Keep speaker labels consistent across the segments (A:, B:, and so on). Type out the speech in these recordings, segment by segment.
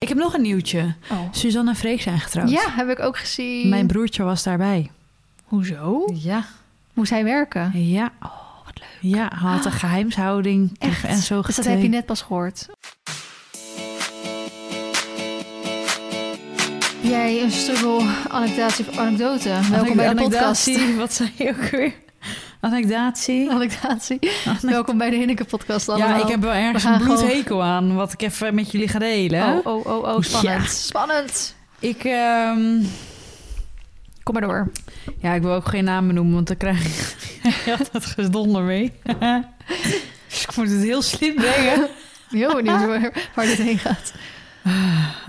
A: Ik heb nog een nieuwtje.
B: Oh.
A: Suzanne en Freek zijn getrouwd.
B: Ja, heb ik ook gezien.
A: Mijn broertje was daarbij.
B: Hoezo?
A: Ja.
B: Moest hij werken?
A: Ja. Oh, wat leuk. Ja, hij had een geheimshouding
B: Ah. Echt?
A: en zo
B: dus dat
A: getekend.
B: heb je net pas gehoord. Jij een struggle anekdatie of anekdote. Welkom bij de podcast.
A: Anekdatie, Wat zei je ook weer? Anekdatie.
B: Anekdatie.
A: Anek-
B: Welkom bij de Hinneke podcast allemaal.
A: Ja, ik heb wel ergens
B: We gaan
A: een bloedhekel aan, wat ik even met jullie ga delen.
B: Oh, oh, oh, oh, spannend.
A: Ja.
B: Spannend.
A: Ik, ehm,
B: Kom maar door.
A: ja, ik wil ook geen namen noemen, want dan krijg ik altijd gedonder mee. dus ik moet het heel slim brengen.
B: Heel benieuwd waar, waar dit heen gaat.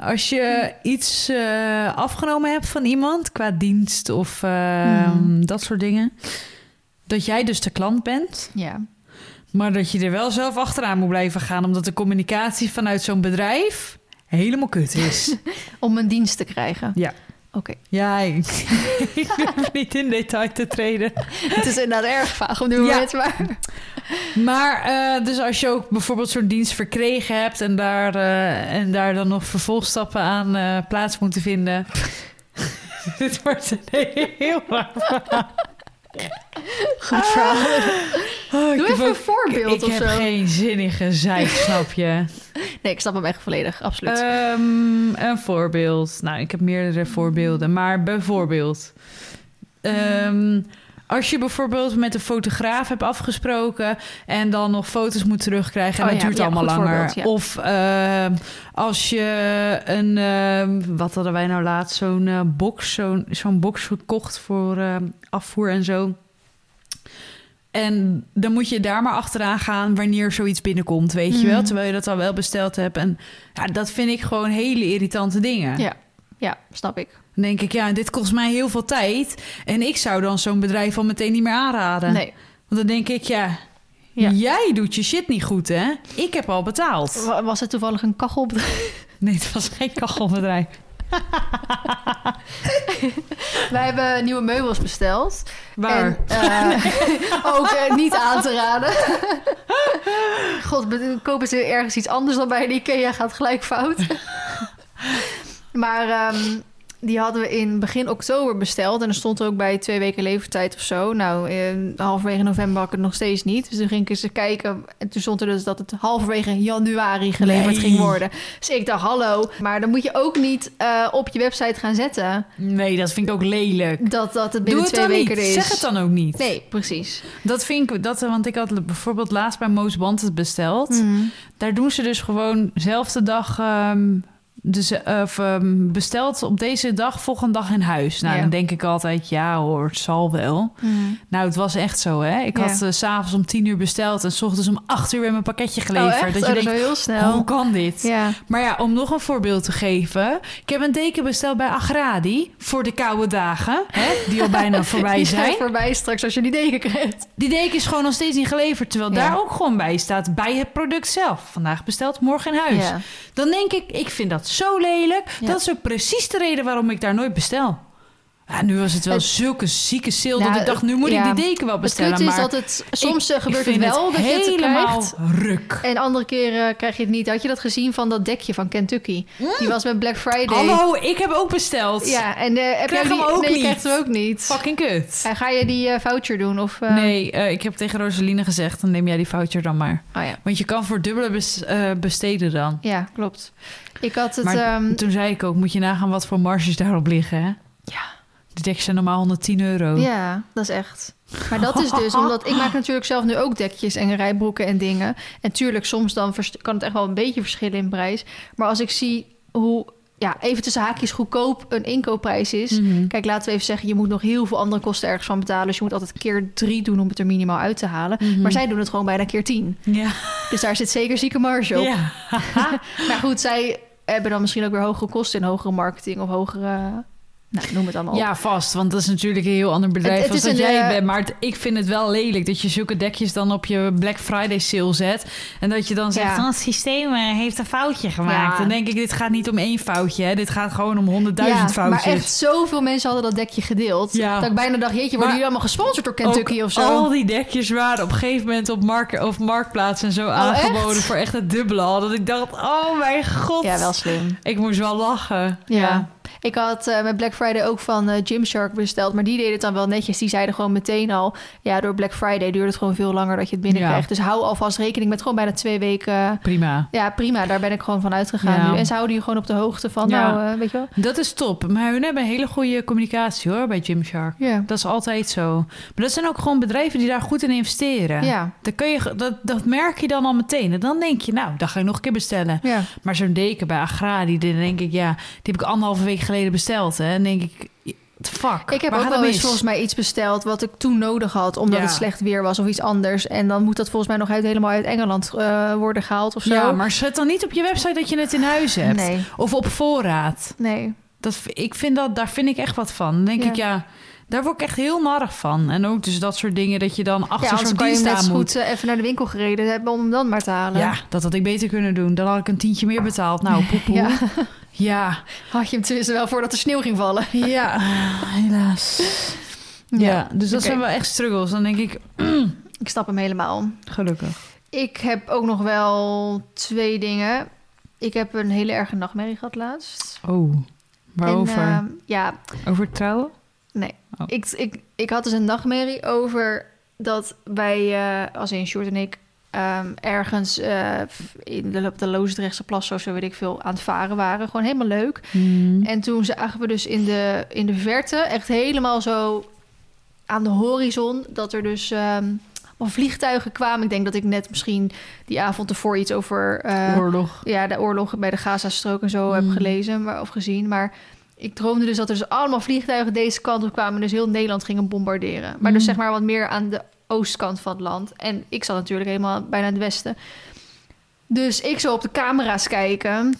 A: Als je iets eh, afgenomen hebt van iemand qua dienst of eh,
B: Mhm.
A: dat soort dingen, dat jij dus de klant bent,
B: Ja.
A: maar dat je er wel zelf achteraan moet blijven gaan, omdat de communicatie vanuit zo'n bedrijf helemaal kut is.
B: Om een dienst te krijgen.
A: Ja.
B: Oké.
A: ja, ik, ik durf niet in detail te treden.
B: Het is inderdaad erg vaag op dit
A: Ja.
B: moment, maar...
A: Maar eh, dus als je ook bijvoorbeeld zo'n dienst verkregen hebt en daar, eh, en daar dan nog vervolgstappen aan eh, plaats moeten vinden. Dit wordt een heel raar verhaal.
B: Goed verhaal.
A: Oh, ik
B: Doe
A: heb
B: Ah. even een
A: ook-
B: voorbeeld
A: Ik
B: of
A: heb
B: zo.
A: geen zin in gezeik, snap je?
B: Nee, ik snap hem echt volledig. Absoluut.
A: Ehm, een voorbeeld. Nou, ik heb meerdere voorbeelden. Maar bijvoorbeeld... ehm, als je bijvoorbeeld met een fotograaf hebt afgesproken... en dan nog foto's moet terugkrijgen... en
B: Oh
A: dat
B: ja,
A: duurt
B: ja,
A: allemaal
B: goed
A: langer.
B: voorbeeld, ja.
A: Of ehm, als je een... ehm, wat hadden wij nou laatst? Zo'n eh, box, zo'n, zo'n box gekocht voor ehm, afvoer en zo... En dan moet je daar maar achteraan gaan wanneer zoiets binnenkomt, weet je wel.
B: Mhm.
A: Terwijl je dat al wel besteld hebt. En ja, dat vind ik gewoon hele irritante dingen.
B: Ja. ja, snap ik.
A: Dan denk ik, ja, dit kost mij heel veel tijd. En ik zou dan zo'n bedrijf al meteen niet meer aanraden.
B: Nee.
A: Want dan denk ik, ja,
B: Ja.
A: jij doet je shit niet goed, hè? Ik heb al betaald.
B: Wa- Was het toevallig een kachelbedrijf?
A: Nee, het was geen kachelbedrijf.
B: Wij hebben nieuwe meubels besteld.
A: Waar?
B: En, eh, ook eh, niet aan te raden. God, be- kopen ze ergens iets anders dan bij de IKEA gaat gelijk fout. maar ehm, die hadden we in begin oktober besteld. En er stond ook bij twee weken levertijd of zo. Nou, eh, halverwege november had ik het nog steeds niet. Dus toen ging ik eens kijken. En toen stond er dus dat het halverwege januari geleverd
A: Nee.
B: ging worden. Dus ik dacht, hallo. Maar dan moet je ook niet eh, op je website gaan zetten...
A: Nee, dat vind ik ook lelijk.
B: dat, dat het
A: Doe
B: binnen
A: het
B: twee
A: dan
B: weken
A: niet.
B: er is.
A: Zeg het dan ook niet.
B: Nee, precies.
A: Dat vind ik, dat, want ik had bijvoorbeeld laatst bij Moos Band het besteld.
B: Hmm.
A: Daar doen ze dus gewoon zelfde dag. ehm, dus, eh, of, ehm, besteld op deze dag, volgende dag in huis. Nou,
B: Ja.
A: dan denk ik altijd, ja hoor, het zal wel. Nou, het was echt zo, hè. Ik
B: Ja.
A: had eh, s s'avonds om tien uur besteld... en s ochtends om acht uur weer mijn pakketje
B: Oh,
A: geleverd.
B: echt?
A: dat je
B: Oh, is
A: denkt,
B: wel heel snel.
A: hoe kan dit?
B: Ja.
A: Maar ja, om nog een voorbeeld te geven. Ik heb een deken besteld bij Agradi voor de koude dagen... Hè, die al bijna voorbij
B: Die zijn
A: zijn.
B: voorbij straks als je die deken krijgt.
A: Die deken is gewoon nog steeds niet geleverd... terwijl
B: Ja.
A: daar ook gewoon bij staat, bij het product zelf. Vandaag besteld, morgen in huis.
B: Ja.
A: Dan denk ik, ik vind dat zo lelijk.
B: Ja.
A: Dat is ook precies de reden waarom ik daar nooit bestel. Ja, nu was het wel
B: Het-
A: zulke zieke sale
B: Nou,
A: dat ik dacht, nu moet
B: ja.
A: ik die deken wel
B: Het
A: bestellen.
B: kut is
A: maar
B: dat het soms eh,
A: ik
B: gebeurt het
A: vind
B: wel dat je het
A: helemaal
B: krijgt.
A: ruk.
B: En andere keren krijg je het niet. Had je dat gezien van dat dekje van Kentucky? Die was met Black Friday.
A: Hallo, ik heb ook besteld.
B: Mm. Ja, en eh, heb
A: Krijg
B: jij die...
A: hem ook
B: nee, je
A: niet.
B: krijgt hem ook niet.
A: Fucking kut.
B: En ga je die eh, voucher doen? Of, eh,
A: Nee, eh, ik heb tegen Rosaline gezegd, dan neem jij die voucher dan maar.
B: Oh ja.
A: Want je kan voor dubbele bes- eh, besteden dan.
B: Ja, klopt. Ik had het...
A: maar
B: ehm,
A: toen zei ik ook, moet je nagaan wat voor marges daarop liggen, hè?
B: Ja.
A: Die dekjes zijn normaal 110 euro.
B: Ja, dat is echt. Maar dat is dus omdat ik maak natuurlijk zelf nu ook dekjes en rijbroeken en dingen. En tuurlijk, soms dan vers- kan het echt wel een beetje verschillen in prijs. Maar als ik zie hoe, ja, even tussen haakjes goedkoop een inkoopprijs is.
A: Mhm.
B: Kijk, laten we even zeggen, je moet nog heel veel andere kosten ergens van betalen. Dus je moet altijd keer drie doen om het er minimaal uit te halen.
A: Mhm.
B: Maar zij doen het gewoon bijna keer tien.
A: Ja.
B: Dus daar zit zeker zieke marge op.
A: ja.
B: Maar goed, zij hebben dan misschien ook weer hogere kosten in hogere marketing of hogere Nou, noem het allemaal op.
A: Ja, vast. Want dat is natuurlijk een heel ander bedrijf
B: Het- het
A: als
B: is
A: dat
B: een,
A: jij
B: eh,
A: bent. Maar het- ik vind het wel lelijk dat je zulke dekjes dan op je Black Friday sale zet. En dat je dan zegt,
B: Ja.
A: "Oh, het systeem eh, heeft een foutje gemaakt.
B: Ja.
A: Dan denk ik, dit gaat niet om één foutje. Hè. Dit gaat gewoon om honderdduizend
B: ja,
A: foutjes.
B: Maar echt zoveel mensen hadden dat dekje gedeeld.
A: Ja.
B: Dat ik bijna dacht, jeetje, worden
A: Maar
B: jullie allemaal gesponsord door
A: Ook
B: Kentucky of zo?
A: Al die dekjes waren op een gegeven moment op mark of marktplaats en zo aangeboden
B: Oh, echt?
A: voor echt het dubbele al. Dat ik dacht, oh mijn god.
B: Ja, wel slim.
A: Ik moest wel lachen.
B: Ja. Ik had eh, met Black Friday ook van eh, Gymshark besteld. Maar die deden het dan wel netjes. Die zeiden gewoon meteen al... Ja, door Black Friday duurt het gewoon veel langer dat je het binnenkrijgt. Dus hou alvast rekening met gewoon bijna twee weken...
A: Prima.
B: ja, prima. Daar ben ik gewoon van uitgegaan
A: Ja.
B: nu. En ze houden je gewoon op de hoogte van...
A: Ja.
B: Nou, eh, weet je wel.
A: Dat is top. Maar hun hebben een hele goede communicatie hoor bij Gymshark.
B: Ja.
A: Dat is altijd zo. Maar dat zijn ook gewoon bedrijven die daar goed in investeren.
B: Ja.
A: Dan kun je, ge- dat, dat merk je dan al meteen. En dan denk je, nou, dat ga ik nog een keer bestellen.
B: Ja.
A: Maar zo'n deken bij Agradi, dan denk ik, ja, die heb ik anderhalve week geleden besteld. Hè. En denk ik, fuck,
B: Ik heb
A: waar
B: ook
A: gaat
B: wel
A: dat
B: eens
A: mis?
B: volgens mij iets besteld wat ik toen nodig had, omdat
A: Ja.
B: het slecht weer was of iets anders. En dan moet dat volgens mij nog uit, helemaal uit Engeland eh, worden gehaald of zo.
A: Ja, maar zet dan niet op je website dat je het in huis hebt.
B: Nee,
A: Of op voorraad.
B: nee.
A: Dat, v- ik vind dat, daar vind ik echt wat van. Dan denk
B: Ja.
A: ik, ja, daar word ik echt heel narrig van. En ook dus dat soort dingen dat je dan
B: ja,
A: achter
B: anders
A: zo'n
B: kan je
A: dienst
B: net
A: aan
B: zo
A: moet.
B: goed eh, even naar de winkel gereden hebben om hem dan maar te halen.
A: Ja, dat had ik beter kunnen doen. Dan had ik een tientje meer betaald. Nou, poepoe.
B: Ja.
A: Ja,
B: Had je hem tenminste wel voordat de sneeuw ging vallen.
A: ja, helaas. Ja, dus dat
B: Oké.
A: zijn wel echt struggles. Dan denk ik,
B: Ik snap hem helemaal.
A: gelukkig.
B: Ik heb ook nog wel twee dingen. Ik heb een hele erge nachtmerrie gehad laatst.
A: Oh, waarover?
B: En, eh, ja,
A: over trouwen?
B: Ik, ik, ik had dus een nachtmerrie over dat wij, eh, als in Sjoerd en ik, ehm, ergens eh, in de, op de Loosdrechtse plassen of zo weet ik veel aan het varen waren. Gewoon helemaal leuk.
A: Hmm.
B: En toen zagen we dus in de, in de verte, echt helemaal zo aan de horizon, dat er dus ehm allemaal vliegtuigen kwamen. Ik denk dat ik net misschien die avond ervoor iets over... eh,
A: Oorlog.
B: ja, de oorlog bij de Gazastrook en zo
A: Mm.
B: heb gelezen maar, of gezien. Maar ik droomde dus dat er dus allemaal vliegtuigen deze kant op kwamen. en Dus heel Nederland gingen bombarderen. Maar dus
A: Mm.
B: zeg maar wat meer aan de oostkant van het land. En ik zat natuurlijk helemaal bijna in het westen. Dus ik zo op de camera's kijken.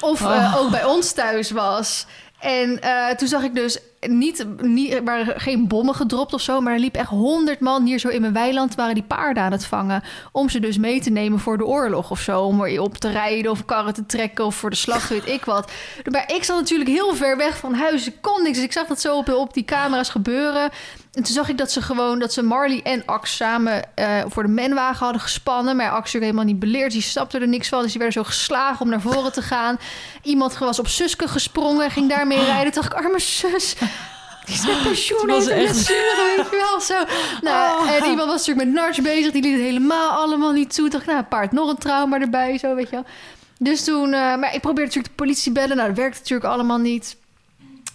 B: Of eh,
A: Oh.
B: ook bij ons thuis was. En eh, toen zag ik dus niet, niet, er waren geen bommen gedropt of zo. Maar er liep echt honderd man hier zo in mijn weiland. waren die paarden aan het vangen. Om ze dus mee te nemen voor de oorlog of zo. Om er op te rijden of karren te trekken of voor de slag, weet ik wat. Maar ik zat natuurlijk heel ver weg van huis. Ik kon niks. Dus ik zag dat zo op, op die camera's gebeuren. En toen zag ik dat ze gewoon dat ze Marley en Ax samen eh, voor de menwagen hadden gespannen. Maar Ax natuurlijk helemaal niet beleerd. Die snapte er niks van. Dus die werden zo geslagen om naar voren te gaan. Iemand was op Suske gesprongen en ging daarmee rijden. Toen dacht ik, arme zus. Die is met pensioen,
A: Oh. Het was
B: heeft een
A: echt-
B: blessure, weet je wel. Zo. Nou,
A: Oh.
B: En iemand was natuurlijk met narts bezig. Die liet het helemaal allemaal niet toe. Toen dacht ik, nou, paard nog een trauma erbij. Zo, weet je wel. Dus toen... eh, maar ik probeerde natuurlijk de politie bellen. Nou, dat werkte natuurlijk allemaal niet.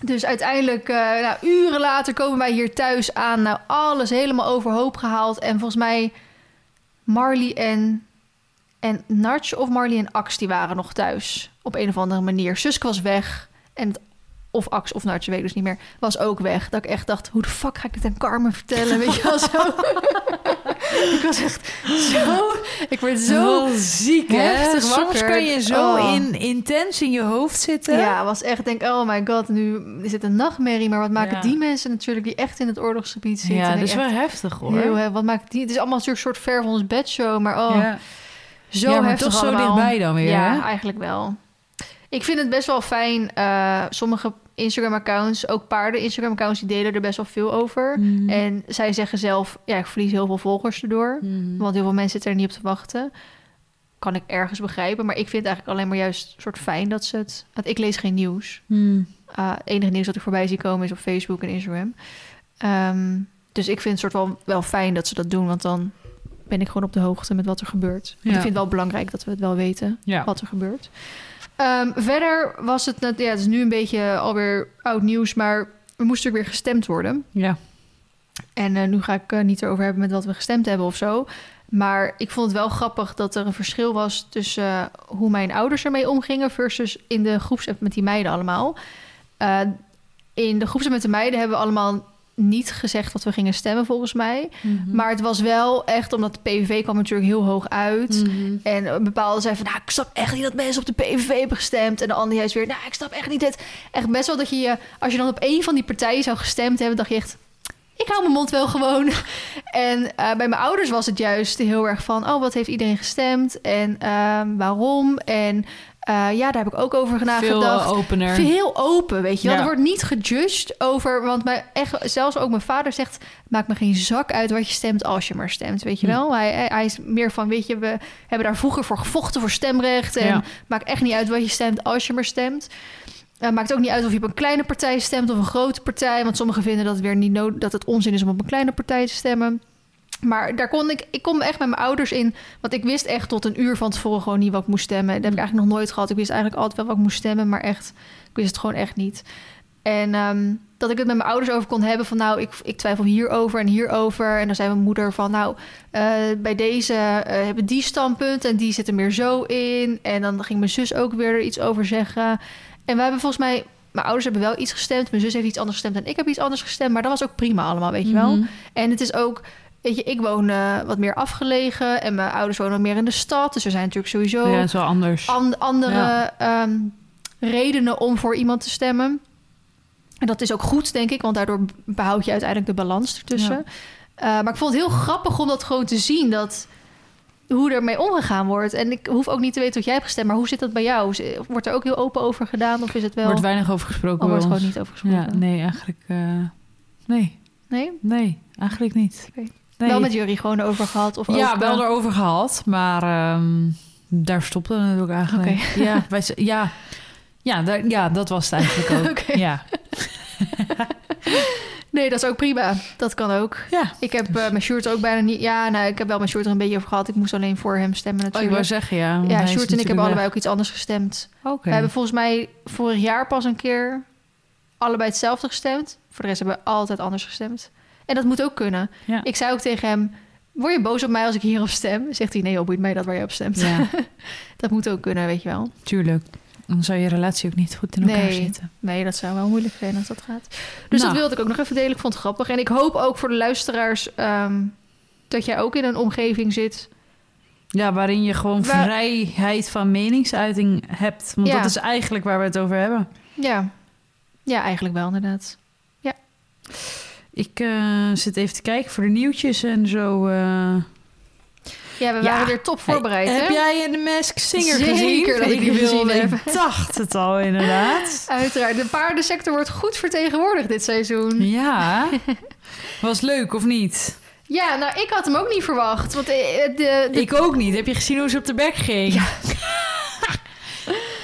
B: Dus uiteindelijk, eh, nou, uren later komen wij hier thuis aan. Nou, alles helemaal overhoop gehaald. En volgens mij Marley en, en Narch of Marley en Ax, die waren nog thuis. Op een of andere manier. Suske was weg. En het- of Ax of Narch, weet ik dus niet meer, was ook weg. Dat ik echt dacht, hoe de fuck ga ik dit aan Carmen vertellen? Weet je wel zo. ik was echt Oh, zo... Ik werd zo...
A: Wel ziek, hè?
B: heftig
A: Soms
B: wakker.
A: kan je zo
B: Oh.
A: in, intens in je hoofd zitten.
B: Ja, was echt denk, oh my god, nu is het een nachtmerrie. Maar wat maken
A: Ja.
B: die mensen natuurlijk die echt in het oorlogsgebied zitten?
A: ja
B: Denk
A: dat is
B: echt,
A: wel heftig, hoor.
B: Heel, hè, wat maakt die? Het is allemaal een soort- soort ver van ons bedshow, maar oh,
A: Ja.
B: zo
A: Ja, maar
B: heftig
A: toch zo
B: allemaal.
A: dichtbij dan weer,
B: Ja,
A: hè?
B: eigenlijk wel. Ik vind het best wel fijn. eh, sommige Instagram-accounts, ook paarden Instagram-accounts, die delen er best wel veel over.
A: Mhm.
B: En zij zeggen zelf, ja, ik verlies heel veel volgers erdoor.
A: Mhm.
B: Want heel veel mensen zitten er niet op te wachten. Kan ik ergens begrijpen. Maar ik vind het eigenlijk alleen maar juist soort fijn dat ze het... Want ik lees geen nieuws.
A: Mhm.
B: Eh, het enige nieuws dat ik voorbij zie komen is op Facebook en Instagram. Ehm, dus ik vind het soort wel, wel fijn dat ze dat doen, want dan ben ik gewoon op de hoogte met wat er gebeurt. Want
A: Ja.
B: Ik vind het wel belangrijk dat we het wel weten
A: Ja.
B: wat er gebeurt. Ehm, verder was het, net, ja, het is nu een beetje alweer oud nieuws, maar er moest natuurlijk weer gestemd worden.
A: ja.
B: En eh, nu ga ik eh, niet erover hebben met wat we gestemd hebben of zo. Maar ik vond het wel grappig dat er een verschil was tussen eh, hoe mijn ouders ermee omgingen versus in de groepsapp met die meiden allemaal. Eh, in de groepsapp met de meiden hebben we allemaal niet gezegd wat we gingen stemmen volgens mij.
A: Mm.
B: Mm-hmm. Maar het was wel echt, omdat de PVV kwam natuurlijk heel hoog uit.
A: Mm-hmm.
B: En een bepaalde zei van, nou, ik snap echt niet dat mensen op de PVV hebben gestemd. En de ander juist weer, nou, ik snap echt niet dit. Echt best wel dat je, je- als je dan op één van die partijen zou gestemd hebben, dacht je echt, ik hou mijn mond wel gewoon. En eh, bij mijn ouders was het juist heel erg van, oh, wat heeft iedereen gestemd? En ehm, waarom? En eh, ja, daar heb ik ook over
A: Veel
B: nagedacht.
A: eh, opener.
B: Heel open, weet je wel.
A: Ja.
B: Er wordt niet gejudged over... Want mijn, echt, zelfs ook mijn vader zegt... maakt me geen zak uit wat je stemt als je maar stemt, weet je
A: Hm.
B: wel. Hij, hij- hij is meer van, weet je, we hebben daar vroeger voor gevochten... voor stemrecht en
A: Ja.
B: maakt echt niet uit wat je stemt als je maar stemt. Eh, maakt ook niet uit of je op een kleine partij stemt of een grote partij. Want sommigen vinden dat het, weer niet nood, dat het onzin is om op een kleine partij te stemmen. Maar daar kon ik, ik kon echt met mijn ouders in. Want ik wist echt tot een uur van tevoren gewoon niet wat ik moest stemmen. Dat heb ik eigenlijk nog nooit gehad. Ik wist eigenlijk altijd wel wat ik moest stemmen, maar echt, ik wist het gewoon echt niet. En ehm, dat ik het met mijn ouders over kon hebben van nou, ik, ik twijfel hierover en hierover. En dan zei mijn moeder van nou, eh, bij deze eh, hebben die standpunt en die zit er meer zo in. En dan ging mijn zus ook weer er iets over zeggen. En we hebben volgens mij, mijn ouders hebben wel iets gestemd. Mijn zus heeft iets anders gestemd en ik heb iets anders gestemd. Maar dat was ook prima allemaal, weet je wel.
A: Mhm.
B: En het is ook, weet je, ik woon eh, wat meer afgelegen en mijn ouders wonen wat meer in de stad. Dus er zijn natuurlijk sowieso
A: Ja, dat is wel anders.
B: an- andere
A: Ja.
B: ehm, redenen om voor iemand te stemmen. En dat is ook goed, denk ik, want daardoor behoud je uiteindelijk de balans ertussen. Eh, maar ik vond het heel grappig om dat gewoon te zien, dat hoe ermee omgegaan wordt. En ik hoef ook niet te weten wat jij hebt gestemd, maar hoe zit dat bij jou? Is- eh, Wordt er ook heel open over gedaan of is het wel...
A: Er wordt weinig over gesproken
B: oh, wordt
A: bij
B: gewoon
A: ons.
B: niet over gesproken?
A: Ja, nee, eigenlijk... eh, nee,
B: Nee?
A: nee, eigenlijk niet.
B: Oké.
A: Nee.
B: Wel met jullie gewoon over gehad? Of
A: ja,
B: ook,
A: wel
B: eh,
A: erover gehad, maar ehm, daar stopte het ook eigenlijk. mee. Ja, wij, z- ja, ja, daar, ja, dat was het eigenlijk ook.
B: Oké.
A: Ja.
B: Nee, dat is ook prima. Dat kan ook.
A: ja.
B: Ik heb eh, mijn Sjoerd ook bijna niet... Ja, nou, ik heb wel mijn Sjoerd er een beetje over gehad. Ik moest alleen voor hem stemmen
A: Oh, ik
B: natuurlijk.
A: wou zeggen, ja. want hij
B: ja,
A: is
B: Sjoerd en ik hebben
A: natuurlijk
B: allebei ook iets anders gestemd.
A: weg. Oké.
B: We hebben volgens mij vorig jaar pas een keer allebei hetzelfde gestemd. Voor de rest hebben we altijd anders gestemd. En dat moet ook kunnen.
A: Ja.
B: Ik zei ook tegen hem... Word je boos op mij als ik hierop stem? Zegt hij, nee joh, boeit mij dat waar je op stemt.
A: Ja,
B: Dat moet ook kunnen, weet je wel.
A: tuurlijk. Dan zou je relatie ook niet goed in elkaar
B: Nee.
A: zitten.
B: Nee, dat zou wel moeilijk zijn als dat gaat. Dus
A: Nou.
B: dat wilde ik ook nog even delen. Ik vond het grappig. En ik hoop ook voor de luisteraars ehm, dat jij ook in een omgeving zit.
A: Ja, waarin je gewoon
B: Waar-
A: vrijheid van meningsuiting hebt. Want
B: Ja.
A: dat is eigenlijk waar we het over hebben.
B: Ja, ja eigenlijk wel inderdaad.
A: Ik eh, zit even te kijken voor de nieuwtjes en zo. eh.
B: Ja,
A: Ja.
B: we waren weer top voorbereid.
A: Heb
B: hè?
A: jij The Mask Singer
B: Zeker
A: gezien?
B: dat ik die gezien
A: wilde-
B: heb.
A: Ik dacht het al, inderdaad.
B: Uiteraard. De paardensector wordt goed vertegenwoordigd dit seizoen.
A: Ja. Was leuk, of niet?
B: Ja, nou, ik had hem ook niet verwacht. Want eh, eh, de, de-
A: Ik ook niet. Heb je gezien hoe ze op de bek ging?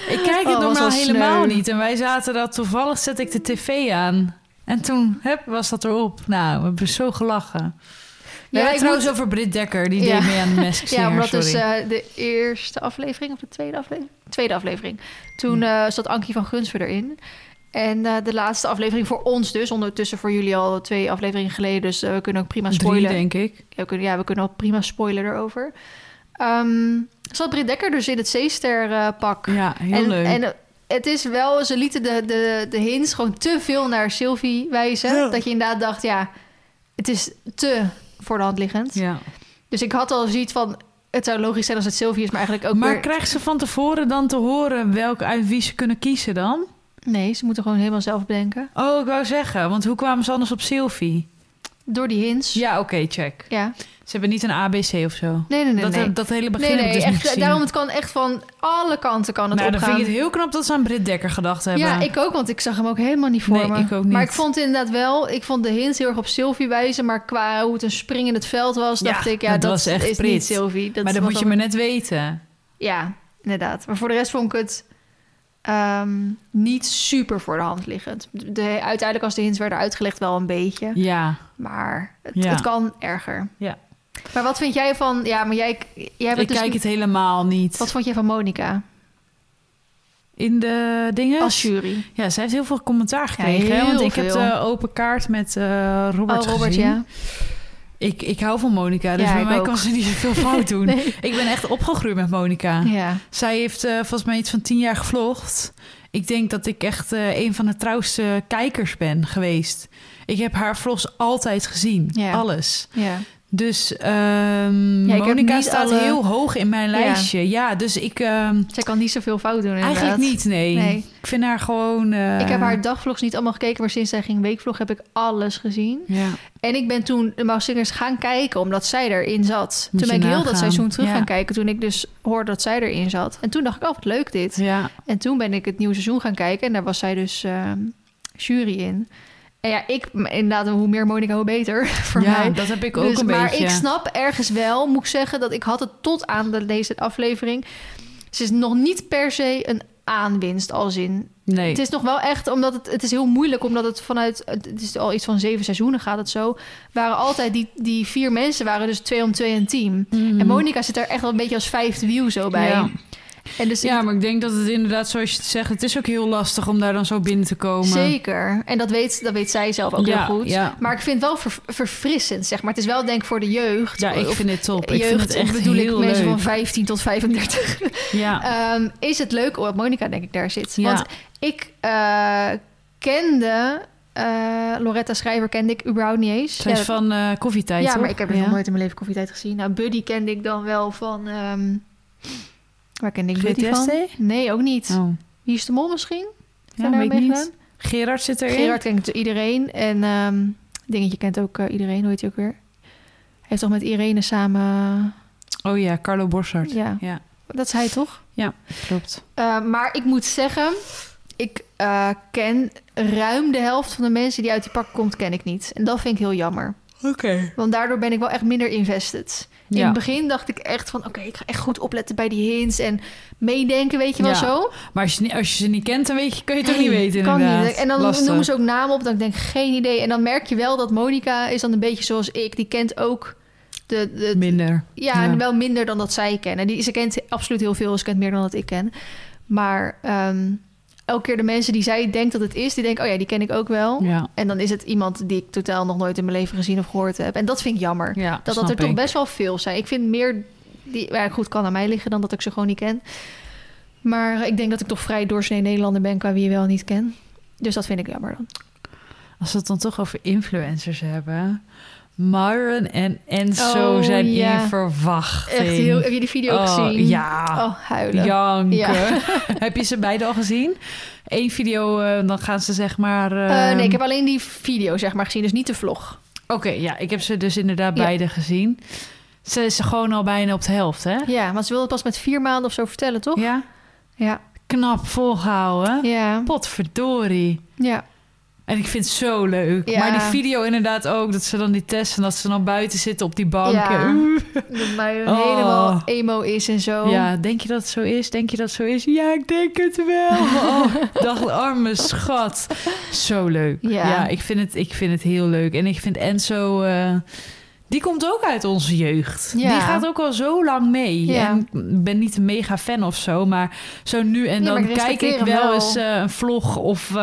A: ik kijk het
B: Oh,
A: normaal
B: was wel sneu.
A: helemaal niet. En wij zaten dat toevallig zette ik de tv aan. En toen hup, was dat erop. Nou, we hebben zo gelachen. We hebben
B: ja, ik
A: het trouwens
B: moet-
A: over Britt Dekker. Die
B: Ja.
A: deed mee aan de Mask Singer,
B: ja, omdat
A: sorry.
B: dus eh, de eerste aflevering of de tweede aflevering? Tweede aflevering.
A: Hm.
B: Toen eh, zat Ankie van Gunsver erin. En eh, de laatste aflevering voor ons dus. Ondertussen voor jullie al twee afleveringen geleden. Dus eh, we kunnen ook prima
A: Drie,
B: spoilen.
A: denk ik.
B: Ja, we kunnen, ja, we kunnen al prima spoilen erover. Ehm, zat Britt Dekker dus in het zeester eh, pak.
A: Ja, heel
B: en,
A: leuk.
B: En eh, het is wel, ze lieten de, de, de hints gewoon te veel naar Sylvie wijzen.
A: Ja.
B: Dat je inderdaad dacht, ja, het is te voor de hand liggend.
A: ja.
B: Dus ik had al zoiets van, het zou logisch zijn als het Sylvie is, maar eigenlijk ook
A: maar
B: weer-
A: krijgt ze van tevoren dan te horen welke uit wie ze kunnen kiezen dan?
B: Nee, ze moeten gewoon helemaal zelf bedenken.
A: Oh, ik wou zeggen, want hoe kwamen ze anders op Sylvie?
B: Door die hints.
A: Ja, oké, check.
B: Ja.
A: Ze hebben niet een ABC of zo.
B: Nee, nee, nee.
A: dat,
B: nee.
A: dat hele begin
B: nee,
A: heb ik
B: nee,
A: dus niet
B: echt,
A: gezien.
B: daarom het kan echt van alle kanten kan het
A: nou, dan
B: opgaan.
A: vind ik het heel knap dat ze aan Britt Dekker gedacht hebben.
B: Ja, ik ook, want ik zag hem ook helemaal niet voor
A: Nee,
B: me.
A: ik ook niet.
B: Maar ik vond het inderdaad wel, ik vond de hints heel erg op Sylvie wijzen, maar qua hoe het een spring in het veld was,
A: Ja,
B: dacht ik, ja,
A: dat
B: dat,
A: was echt
B: is
A: Brit.
B: niet Sylvie. Dat
A: maar dat
B: was
A: moet je
B: dan-
A: maar net weten.
B: Ja, inderdaad. Maar voor de rest vond ik het ehm, niet super voor de hand liggend. De, uiteindelijk als de hints werden uitgelegd wel een beetje,
A: Ja,
B: maar het,
A: Ja.
B: het kan erger.
A: Ja.
B: Maar wat vind jij van, ja, maar jij, jij bent
A: ik
B: dus,
A: kijk het helemaal niet.
B: wat vond jij van Monica
A: In de dingen?
B: als jury?
A: Ja, zij heeft heel veel commentaar gekregen. hè,
B: heel
A: want ik heb
B: veel.
A: de open kaart met eh, Robert
B: oh, Robert,
A: gezien.
B: ja.
A: Ik, ik hou van Monica, dus
B: Ja,
A: bij
B: ik
A: mij
B: ook.
A: kan ze niet zoveel fout doen.
B: Nee.
A: Ik ben echt opgegroeid met Monica.
B: Ja.
A: Zij heeft eh, volgens mij iets van tien jaar gevlogd. Ik denk dat ik echt eh, een van de trouwste kijkers ben geweest. Ik heb haar vlogs altijd gezien.
B: Ja.
A: Alles.
B: Ja.
A: Dus ehm
B: Ja, ik heb
A: Monica
B: niet
A: staat
B: alle-
A: heel hoog in mijn
B: Ja.
A: lijstje. Ja, dus ik... ehm,
B: Zij kan niet zoveel fout doen inderdaad.
A: eigenlijk niet, nee.
B: Nee.
A: Ik vind haar gewoon... eh,
B: Ik heb haar dagvlogs niet allemaal gekeken, maar sinds zij ging weekvlog heb ik alles gezien.
A: Ja.
B: En ik ben toen de Maus Singers gaan kijken, omdat zij erin zat.
A: Moet
B: toen ben
A: je
B: ik heel
A: nagaan.
B: dat seizoen terug
A: Ja.
B: gaan kijken, toen ik dus hoorde dat zij erin zat. En toen dacht ik, oh, wat leuk dit.
A: ja.
B: En toen ben ik het nieuwe seizoen gaan kijken en daar was zij dus ehm, jury in. En ja, ik, m- inderdaad, hoe meer Monica, hoe beter voor
A: ja,
B: mij.
A: dat heb ik ook
B: Dus-
A: een
B: maar
A: beetje.
B: ik snap ergens wel, moet ik zeggen, dat ik had het tot aan de, deze aflevering. Ze is nog niet per se een aanwinst, als in
A: nee.
B: het is nog wel echt, omdat het, het is heel moeilijk, omdat het vanuit, het is al iets van zeven seizoenen gaat het zo, waren altijd die, die vier mensen, waren dus twee om twee een team.
A: Mhm.
B: En Monica zit daar echt wel een beetje als vijfde wiel zo bij.
A: Ja.
B: En dus
A: Ja, maar ik denk dat het inderdaad, zoals je het zegt, het is ook heel lastig om daar dan zo binnen te komen.
B: zeker. En dat weet, dat weet zij zelf ook
A: ja,
B: heel goed.
A: Ja,
B: Maar ik vind het wel ver- verfrissend, zeg maar. Het is wel denk ik voor de jeugd.
A: ja ik
B: of
A: vind het top. Ik
B: jeugd,
A: vind het echt
B: bedoel ik
A: heel
B: mensen van
A: leuk.
B: 15 tot 35.
A: Ja.
B: Ehm, is het leuk omdat Monica denk ik daar zit.
A: Ja.
B: Want ik eh, kende eh, Loretta Schrijver kende ik überhaupt niet eens.
A: Zij is
B: Ja, dat-
A: van eh, koffietijd,
B: ja,
A: toch?
B: maar ik heb er nog nooit in mijn leven koffietijd gezien. Nou, Buddy kende ik dan wel van. ehm, waar kende ik Buddy
A: GTSD?
B: van? Nee, ook niet.
A: Oh.
B: Wie is de mol misschien?
A: Ja,
B: Daar
A: weet ik
B: nou mee
A: niet.
B: gedaan?
A: Gerard zit erin.
B: Gerard kent iedereen en ehm, dingetje kent ook eh, iedereen. Hoe heet hij ook weer? Hij heeft toch met Irene samen.
A: Oh ja, Carlo Bossard.
B: Ja.
A: Ja.
B: Dat is hij toch?
A: Klopt.
B: Eh, maar ik moet zeggen, ik eh, ken ruim de helft van de mensen die uit die pak komt, ken ik niet. En dat vind ik heel jammer.
A: Oké.
B: Want daardoor ben ik wel echt minder invested. In
A: Ja.
B: het begin dacht ik echt van, oké, ik ga echt goed opletten bij die hints en meedenken, weet je wel
A: Ja.
B: zo.
A: Maar als je, niet- als je ze niet kent, dan weet je, kun je het ook niet
B: Nee,
A: weten
B: kan
A: inderdaad.
B: niet. En dan
A: Lastig.
B: noemen ze ook namen op, dan denk ik geen idee. En dan merk je wel dat Monica is dan een beetje zoals ik. Die kent ook de, de,
A: Minder.
B: ja,
A: Ja.
B: en wel minder dan dat zij kennen. Die, ze kent absoluut heel veel, ze kent meer dan dat ik ken. Maar ehm, elke keer de mensen die zij denkt dat het is, die denken, oh ja, die ken ik ook wel.
A: Ja.
B: En dan is het iemand die ik totaal nog nooit in mijn leven gezien of gehoord heb. En dat vind ik jammer.
A: ja
B: dat dat
A: snap
B: er toch
A: ik.
B: best wel veel zijn. Ik vind meer die ja, goed kan aan mij liggen dan dat ik ze gewoon niet ken. Maar ik denk dat ik toch vrij doorsnee Nederlander ben qua wie je wel en niet ken. Dus dat vind ik jammer dan.
A: Als we het dan toch over influencers hebben. Myron en Enzo
B: Oh,
A: zijn
B: ja.
A: in verwachting.
B: Echt heel, heb je die video
A: Oh,
B: gezien?
A: Ja.
B: Oh, huilen.
A: Janken.
B: Ja.
A: heb je ze beide al gezien? Eén video, eh, dan gaan ze zeg maar...
B: Eh, nee,
A: ehm,
B: ik heb alleen die video zeg maar gezien, dus niet de vlog.
A: Oké, ja, ik heb ze dus inderdaad
B: Ja.
A: beide gezien. Ze is gewoon al bijna op de helft, hè?
B: Ja, want ze wilde pas met vier maanden of zo vertellen, toch?
A: Ja.
B: Ja.
A: Knap volgehouden.
B: Ja.
A: Potverdorie.
B: Ja.
A: En ik vind het zo leuk.
B: Ja.
A: Maar die video inderdaad ook, dat ze dan die testen... dat ze dan buiten zitten op die banken.
B: Ja.
A: Oeh.
B: Dat mij
A: Oh.
B: helemaal emo is en
A: Ja.
B: zo.
A: denk je dat het zo is? Denk je dat het zo is? Ja, ik denk het wel. Oh, dag, arme schat. Zo leuk.
B: Ja.
A: ik, vind het, ik vind het heel leuk. En ik vind Enzo... eh, die komt ook uit onze jeugd.
B: Ja.
A: Die gaat ook al zo lang mee.
B: Ja.
A: En ik ben niet een mega fan of zo, maar zo nu en
B: Nee,
A: dan
B: maar ik
A: kijk
B: respecteer
A: ik
B: hem
A: wel,
B: wel.
A: eens eh, een vlog of eh,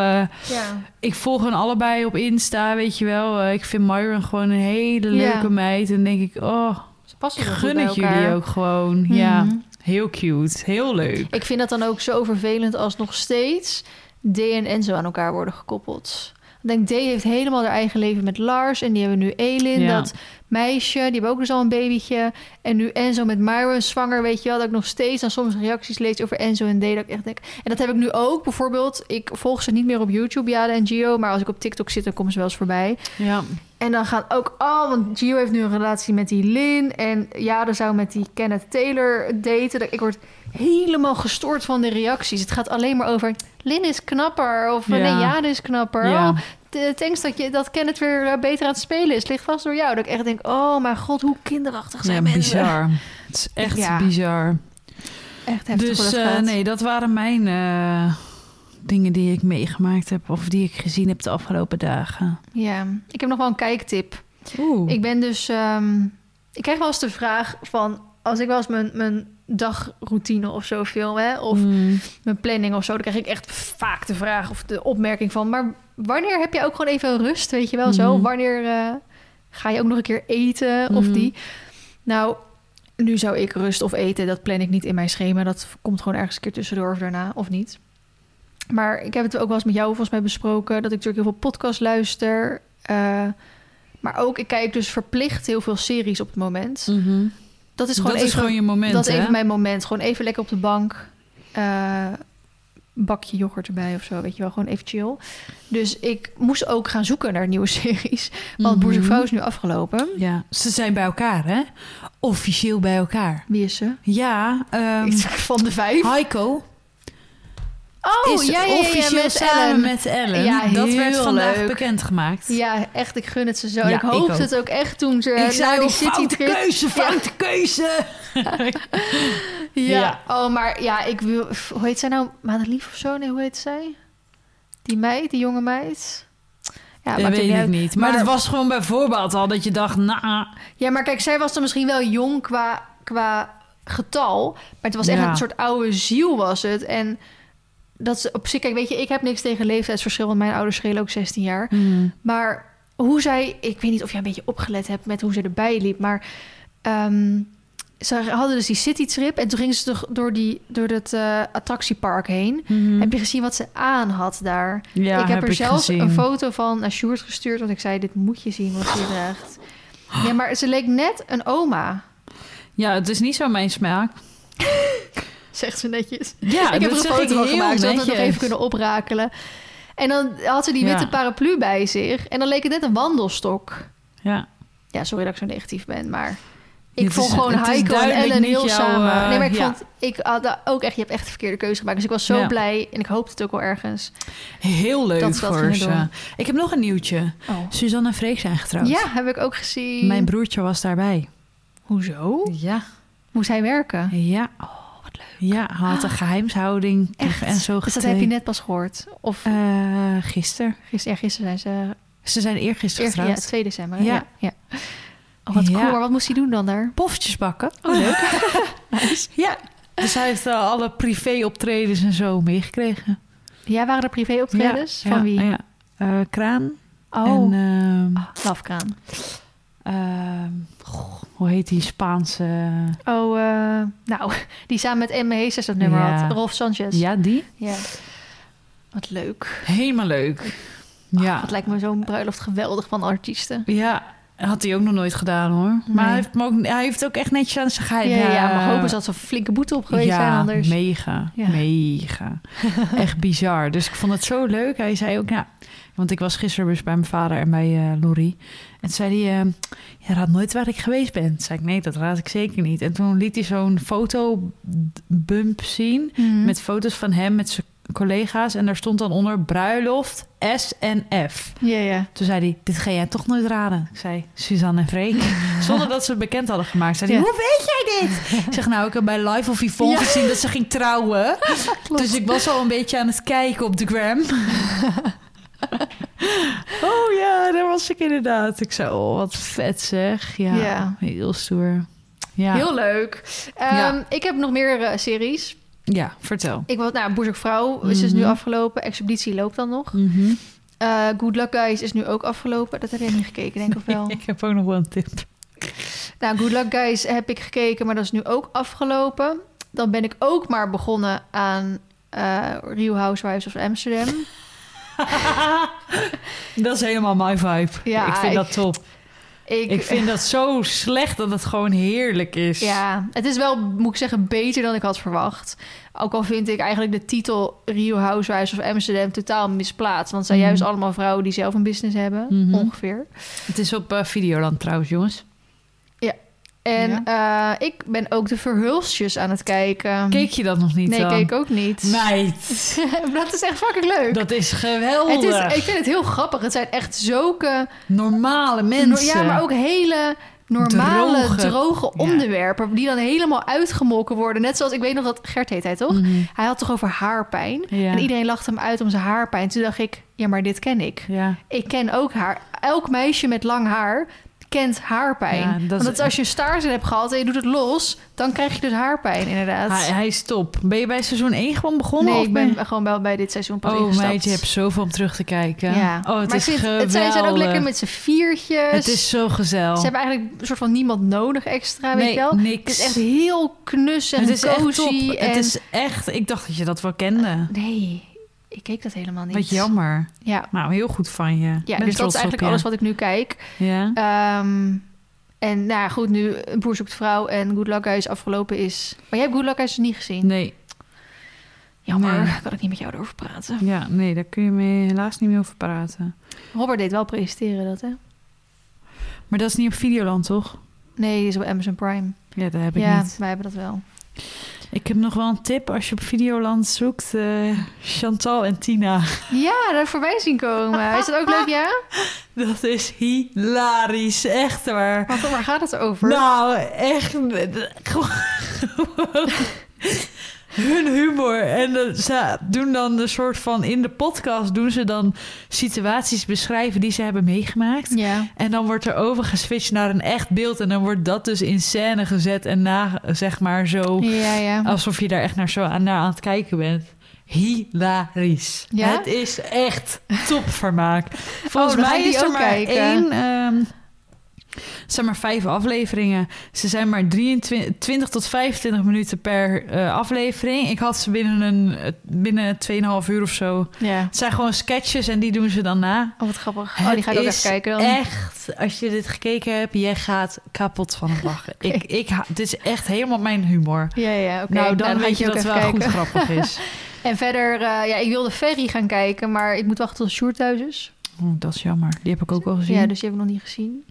B: Ja.
A: ik volg hun allebei op Insta, weet je wel. Eh, ik vind Myron gewoon een hele
B: Ja.
A: leuke meid en denk ik, oh,
B: Ze passen
A: ik
B: wel goed
A: gun
B: bij
A: het jullie
B: elkaar.
A: ook gewoon. Ja,
B: Mhm.
A: heel cute, heel leuk.
B: Ik vind dat dan ook zo vervelend als nog steeds D en Enzo aan elkaar worden gekoppeld. Ik denk, D heeft helemaal haar eigen leven met Lars. En die hebben nu Elin,
A: Ja.
B: dat meisje. Die hebben ook dus al een babytje. En nu Enzo met Myron zwanger, weet je wel. Dat ik nog steeds dan soms reacties lees over Enzo en D. Dat ik echt denk... En dat heb ik nu ook. Bijvoorbeeld, ik volg ze niet meer op YouTube, Jade en Gio. Maar als ik op TikTok zit, dan komen ze wel eens voorbij.
A: Ja,
B: En dan gaan ook, oh, want Gio heeft nu een relatie met die Lin. En ja, er zou met die Kenneth Taylor daten. Ik word helemaal gestoord van de reacties. Het gaat alleen maar over, Lin is knapper. Of
A: Ja.
B: nee, Jade is knapper.
A: ja.
B: Oh, t- thanks dat, je, dat Kenneth weer eh, beter aan het spelen is. Ligt vast door jou. Dat ik echt denk, oh mijn god, hoe kinderachtig zijn
A: ja
B: mensen.
A: bizar. Het is echt
B: Ja.
A: bizar.
B: Echt heftig hoe
A: dus
B: dat
A: eh,
B: gaat.
A: nee, dat waren mijn eh, dingen die ik meegemaakt heb of die ik gezien heb de afgelopen dagen.
B: Ja, ik heb nog wel een kijktip.
A: Oeh.
B: Ik ben dus. ehm, ik krijg wel eens de vraag van. Als ik wel eens mijn, mijn dagroutine of zo film, hè, of
A: Mm.
B: mijn planning of zo, dan krijg ik echt vaak de vraag of de opmerking van. Maar wanneer heb je ook gewoon even rust? Weet je wel zo?
A: Mhm.
B: Wanneer eh, ga je ook nog een keer eten of
A: Mhm.
B: die? Nou, nu zou ik rust of eten, dat plan ik niet in mijn schema. Dat komt gewoon ergens een keer tussendoor of daarna of niet. Maar ik heb het ook wel eens met jou volgens mij besproken... dat ik natuurlijk heel veel podcasts luister. eh, maar ook, ik kijk dus verplicht heel veel series op het moment. Dat is
A: Mhm. Dat
B: gewoon even...
A: is gewoon je moment,
B: dat is
A: hè?
B: even mijn moment. Gewoon even lekker op de bank. eh, bakje yoghurt erbij of zo, weet je wel. Gewoon even chill. Dus ik moest ook gaan zoeken naar nieuwe series. Want Boerzoek
A: Mhm.
B: Vrouw is nu afgelopen.
A: Ja, ze zijn bij elkaar, hè? Officieel bij elkaar.
B: Wie is ze?
A: Ja, ehm,
B: Van de vijf.
A: Heiko
B: Oh,
A: is officieel
B: met
A: samen
B: Ellen.
A: met Ellen.
B: Ja,
A: dat werd
B: heel
A: vandaag
B: leuk.
A: bekendgemaakt.
B: Ja, echt, ik gun het ze zo.
A: Ja,
B: En ik
A: ik
B: hoopte
A: ook.
B: het ook echt toen ze
A: Ik
B: naar
A: zei
B: Eh, nou, die
A: ook,
B: city
A: foute
B: trip.
A: keuze, foute keuze.
B: Ja.
A: Ja.
B: oh, maar ja, ik wil... Hoe heet zij nou? Madelief of zo? Nee, hoe heet zij? Die meid, die jonge meid? Ja,
A: dat
B: maakt ook
A: weet
B: niet
A: ik
B: uit.
A: niet. Maar,
B: Maar-
A: dat was gewoon bij voorbaat al dat je dacht, nou...
B: Ja, maar kijk, zij was dan misschien wel jong qua, qua getal. Maar het was echt
A: Ja.
B: een soort oude ziel was het. En dat ze op zich... Kijk, weet je, ik heb niks tegen leeftijdsverschil... want mijn ouders schelen ook 16 jaar. Maar hoe zij... Ik weet niet of jij een beetje opgelet hebt met hoe ze erbij liep. Maar ehm, ze hadden dus die citytrip... en toen gingen ze toch door, die, door dat eh, attractiepark heen.
A: Mm.
B: Heb je gezien wat ze aan had daar?
A: mm-hmm. Ja,
B: ik heb, er zelfs
A: gezien.
B: een foto van naar Sjoerd gestuurd. Want ik zei, dit moet je zien wat ze draagt. Ja, maar ze leek net een oma.
A: Ja, het is niet zo mijn smaak.
B: Zegt ze netjes.
A: Ja,
B: ik heb er
A: dat
B: een
A: zeg ik
B: foto van
A: heel
B: gemaakt. Ze had het nog
A: netjes.
B: even kunnen oprakelen. En dan had ze die
A: Ja.
B: witte paraplu bij zich. En dan leek het net een wandelstok.
A: Ja.
B: Ja, sorry dat ik zo negatief ben, maar... Ik
A: Het
B: vond
A: is-
B: gewoon
A: het is
B: Heiko en
A: duidelijk
B: Ellen
A: niet
B: heel
A: jouw,
B: samen.
A: eh,
B: nee, maar ik
A: ja.
B: vond... Ik had daar ook echt... Je hebt echt de verkeerde keuze gemaakt. Dus ik was zo
A: Ja.
B: blij. En ik hoopte het ook wel ergens.
A: Heel leuk
B: Dat ze dat
A: voor
B: gingen
A: ze.
B: doen.
A: Ik heb nog een nieuwtje.
B: Oh.
A: Suzanne en Freek zijn getrouwd.
B: Ja, heb ik ook gezien.
A: Mijn broertje was daarbij.
B: Hoezo?
A: Ja.
B: Moest hij werken?
A: Ja. Oh, wat leuk. Ja, hij had een geheimshouding
B: Ah. Echt?
A: en zo
B: Dus dat heb je
A: getekend.
B: net pas gehoord. Of
A: Eh, gisteren.
B: gisteren, ja, gisteren zijn ze...
A: Ze zijn eergisteren
B: Eer, ja,
A: getrouwd.
B: 2 december. hè?
A: Ja.
B: Ja. ja. Oh, wat
A: Ja.
B: cool. Maar wat moest hij doen dan daar?
A: Poffertjes bakken.
B: Oh, leuk.
A: Ja. Dus hij heeft eh, alle privé-optredens en zo meegekregen.
B: Ja, waren er privéoptredens?
A: Ja,
B: Van
A: ja,
B: wie?
A: Ja. Eh, Kraan.
B: Oh, Ah,
A: En, ehm,
B: Lafkraan.
A: ehm, goh, hoe heet die Spaanse...
B: Oh, eh, nou, die samen met Emme Heesters dat nummer
A: Ja.
B: had. Rolf Sanchez.
A: Ja, die?
B: Ja. Wat leuk.
A: Helemaal leuk. Ja.
B: Dat lijkt me zo'n bruiloft geweldig van artiesten.
A: Ja, had hij ook nog nooit gedaan hoor. Maar
B: Nee.
A: hij heeft, hem ook, hij heeft ook echt netjes aan zijn
B: Ja,
A: geheim.
B: ja, maar hopen ze dat ze een flinke boete op geweest
A: ja,
B: zijn anders.
A: Mega,
B: Ja.
A: mega. Echt bizar. Dus ik vond het zo leuk. Hij zei ook, nou, want ik was gisteren dus bij mijn vader en bij eh Lori. En toen zei hij, eh, je raadt nooit waar ik geweest ben. Toen zei ik, nee, dat raad ik zeker niet. En toen liet hij zo'n fotobump zien
B: Mhm.
A: met foto's van hem met zijn collega's. En daar stond dan onder bruiloft S en F.
B: Ja, ja.
A: Toen zei hij, dit ga jij toch nooit raden. Ik zei, Suzanne en Freek. Zonder dat ze het bekend hadden gemaakt. Zei hij,
B: Ja.
A: hoe weet jij dit? Ik zeg, nou, ik heb bij Live of Yvonne
B: Ja.
A: gezien dat ze ging trouwen. Dus ik was al een beetje aan het kijken op de gram. oh ja, daar was ik inderdaad. Ik zei, oh, wat vet zeg. Ja,
B: Ja.
A: heel stoer. Ja.
B: Heel leuk. Ehm,
A: Ja.
B: Ik heb nog meer eh, series.
A: ja, vertel.
B: Ik was, nou, Boerzoek Vrouw is dus nu
A: Mhm.
B: afgelopen. Expeditie loopt dan nog.
A: Mhm.
B: Eh, Good Luck Guys is nu ook afgelopen. Dat heb jij niet gekeken, denk ik of wel?
A: Ik heb ook nog wel een tip.
B: nou, Good Luck Guys heb ik gekeken, maar dat is nu ook afgelopen. Dan ben ik ook maar begonnen aan eh Real Housewives of Amsterdam.
A: dat is helemaal mijn vibe.
B: Ja,
A: ik vind
B: ik-
A: dat top. Ik vind dat zo slecht dat het gewoon heerlijk is.
B: Ja, het is wel, moet ik zeggen, beter dan ik had verwacht. Ook al vind ik eigenlijk de titel Rio Housewives of Amsterdam totaal misplaatst. Want het zijn
A: Mhm.
B: juist allemaal vrouwen die zelf een business hebben,
A: Mhm.
B: ongeveer.
A: Het is op eh, Videoland trouwens, jongens.
B: Mhm. En eh, ik ben ook de verhulstjes aan het kijken.
A: Keek je dat nog niet
B: nee,
A: dan?
B: keek ook niet.
A: Meid,
B: dat is echt fucking leuk.
A: dat is geweldig.
B: het is, ik vind het heel grappig. Het zijn echt zulke...
A: Normale mensen.
B: Ja, maar ook hele normale,
A: Droge.
B: droge,
A: Ja.
B: onderwerpen... die dan helemaal uitgemolken worden. Net zoals, ik weet nog dat... Gert heet hij toch?
A: Mhm.
B: Hij had toch over haarpijn?
A: Ja.
B: En iedereen lachte hem uit om zijn haarpijn. Toen dacht ik, ja, maar dit ken ik.
A: Ja.
B: Ik ken ook haar. Elk meisje met lang haar kent haarpijn.
A: Ja, dat is-
B: Want dat is als je een staars in hebt gehad en je doet het los, dan krijg je dus haarpijn, inderdaad.
A: Hij, hij is top. Ben je bij seizoen 1 gewoon begonnen?
B: nee,
A: eh, of
B: ik ben gewoon wel bij dit seizoen pas
A: Oh
B: ingestapt.
A: meid, je hebt zoveel om terug te kijken.
B: ja.
A: Oh, het
B: maar
A: is
B: ik vind-
A: geweldig.
B: het zijn, zijn ook lekker met z'n viertjes.
A: Het is zo gezellig.
B: Ze hebben eigenlijk een soort van niemand nodig extra, weet
A: nee,
B: je wel.
A: niks.
B: Het is echt heel knus en
A: Het is echt
B: cozy.
A: top.
B: En...
A: Het is echt... Ik dacht dat je dat wel kende.
B: Nee, Ik keek dat helemaal niet.
A: Wat jammer.
B: Ja,
A: Nou, heel goed van je.
B: ja
A: Ben
B: dus dat
A: trots
B: is eigenlijk
A: op je.
B: alles wat ik nu kijk.
A: Ja.
B: Ehm, en nou ja, goed, nu Een Boer zoekt vrouw en Good Luck Huis afgelopen is. Maar jij hebt Good Luck Huis dus niet gezien.
A: Nee,
B: Jammer,
A: Nee.
B: kan ik niet met jou erover praten.
A: ja, nee, daar kun je me helaas niet meer over praten.
B: Robert deed wel presenteren dat, hè?
A: Maar dat is niet op Videoland, toch?
B: Nee, die is op Amazon Prime.
A: Ja, dat heb ik
B: ja,
A: niet.
B: wij hebben dat wel.
A: Ik heb nog wel een tip als je op Videoland zoekt. eh, Chantal en Tina.
B: Ja, daar voorbij zien komen. Is dat ook leuk, ja?
A: Dat is hilarisch, echt waar.
B: Want waar gaat het over?
A: Nou, echt. gewoon- Hun humor. En dat- ze doen dan een soort van. In de podcast doen ze dan situaties beschrijven die ze hebben meegemaakt.
B: Ja.
A: En dan wordt er over geswitcht naar een echt beeld. En dan wordt dat dus in scène gezet. En na, zeg maar zo.
B: Ja, ja.
A: Alsof je daar echt naar, zo aan, naar aan het kijken bent. Hilarisch.
B: Ja? Oh,
A: Het is echt topvermaak. Volgens
B: dan ga
A: mij
B: ik die
A: is er
B: ook
A: maar
B: kijken.
A: één... ehm, het zijn maar vijf afleveringen. Ze zijn maar 23, 20 tot 25 minuten per eh, aflevering. Ik had ze binnen, een, eh, binnen 2,5 uur of zo.
B: Ja.
A: Het zijn gewoon sketches en die doen ze dan na.
B: Oh, wat grappig.
A: Het
B: Oh, die ga ik ook
A: is
B: even kijken dan.
A: Echt, als je dit gekeken hebt, jij gaat kapot van het lachen. ik, ik, ha- dit is echt helemaal mijn humor.
B: Ja, ja, oké.
A: nou, dan,
B: ga ik
A: weet je
B: die
A: dat
B: ook
A: het wel
B: even
A: goed
B: kijken.
A: grappig is.
B: En verder, eh, ja, ik wilde Ferry gaan kijken, maar ik moet wachten tot Sjoerd thuis is.
A: Oeh, dat is jammer. Die heb ik ook wel gezien.
B: Ja, dus die heb ik nog niet gezien.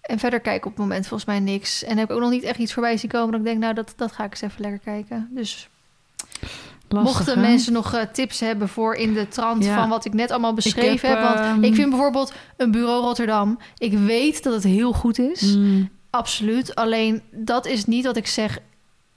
B: En verder kijk ik op het moment volgens mij niks. En heb ik ook nog niet echt iets voorbij zien komen dat ik denk, nou, dat, dat ga ik eens even lekker kijken. Dus
A: Lastig,
B: mochten
A: hè?
B: mensen nog eh, tips hebben voor in de trant
A: Ja.
B: van wat ik net allemaal beschreven heb.
A: heb,
B: want
A: ehm,
B: ik vind bijvoorbeeld een bureau Rotterdam, ik weet dat het heel goed is.
A: Mm,
B: Absoluut. Alleen dat is niet wat ik zeg.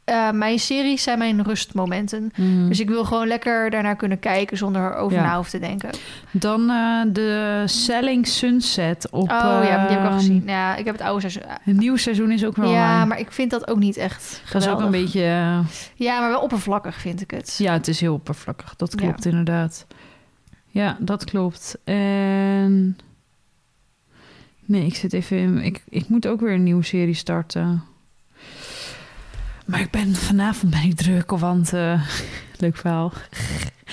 B: Eh, mijn series zijn mijn rustmomenten.
A: mm.
B: Dus ik wil gewoon lekker daarnaar kunnen kijken zonder erover
A: Ja.
B: na hoeven te denken.
A: Dan eh, de Selling Sunset op...
B: oh ja, die heb ik al
A: ehm,
B: gezien. Ja, ik heb het oude seizoen.
A: Het nieuw seizoen is ook wel
B: Ja,
A: online.
B: maar ik vind dat ook niet echt
A: Dat is ook
B: geweldig.
A: een beetje... eh,
B: Ja, maar wel oppervlakkig vind ik het.
A: ja, het is heel oppervlakkig. Dat
B: Ja.
A: klopt inderdaad. Ja, dat klopt. En... Nee, ik zit even in... Ik, ik moet ook weer een nieuwe serie starten. Maar ik ben... Vanavond ben ik druk, want... eh, leuk verhaal.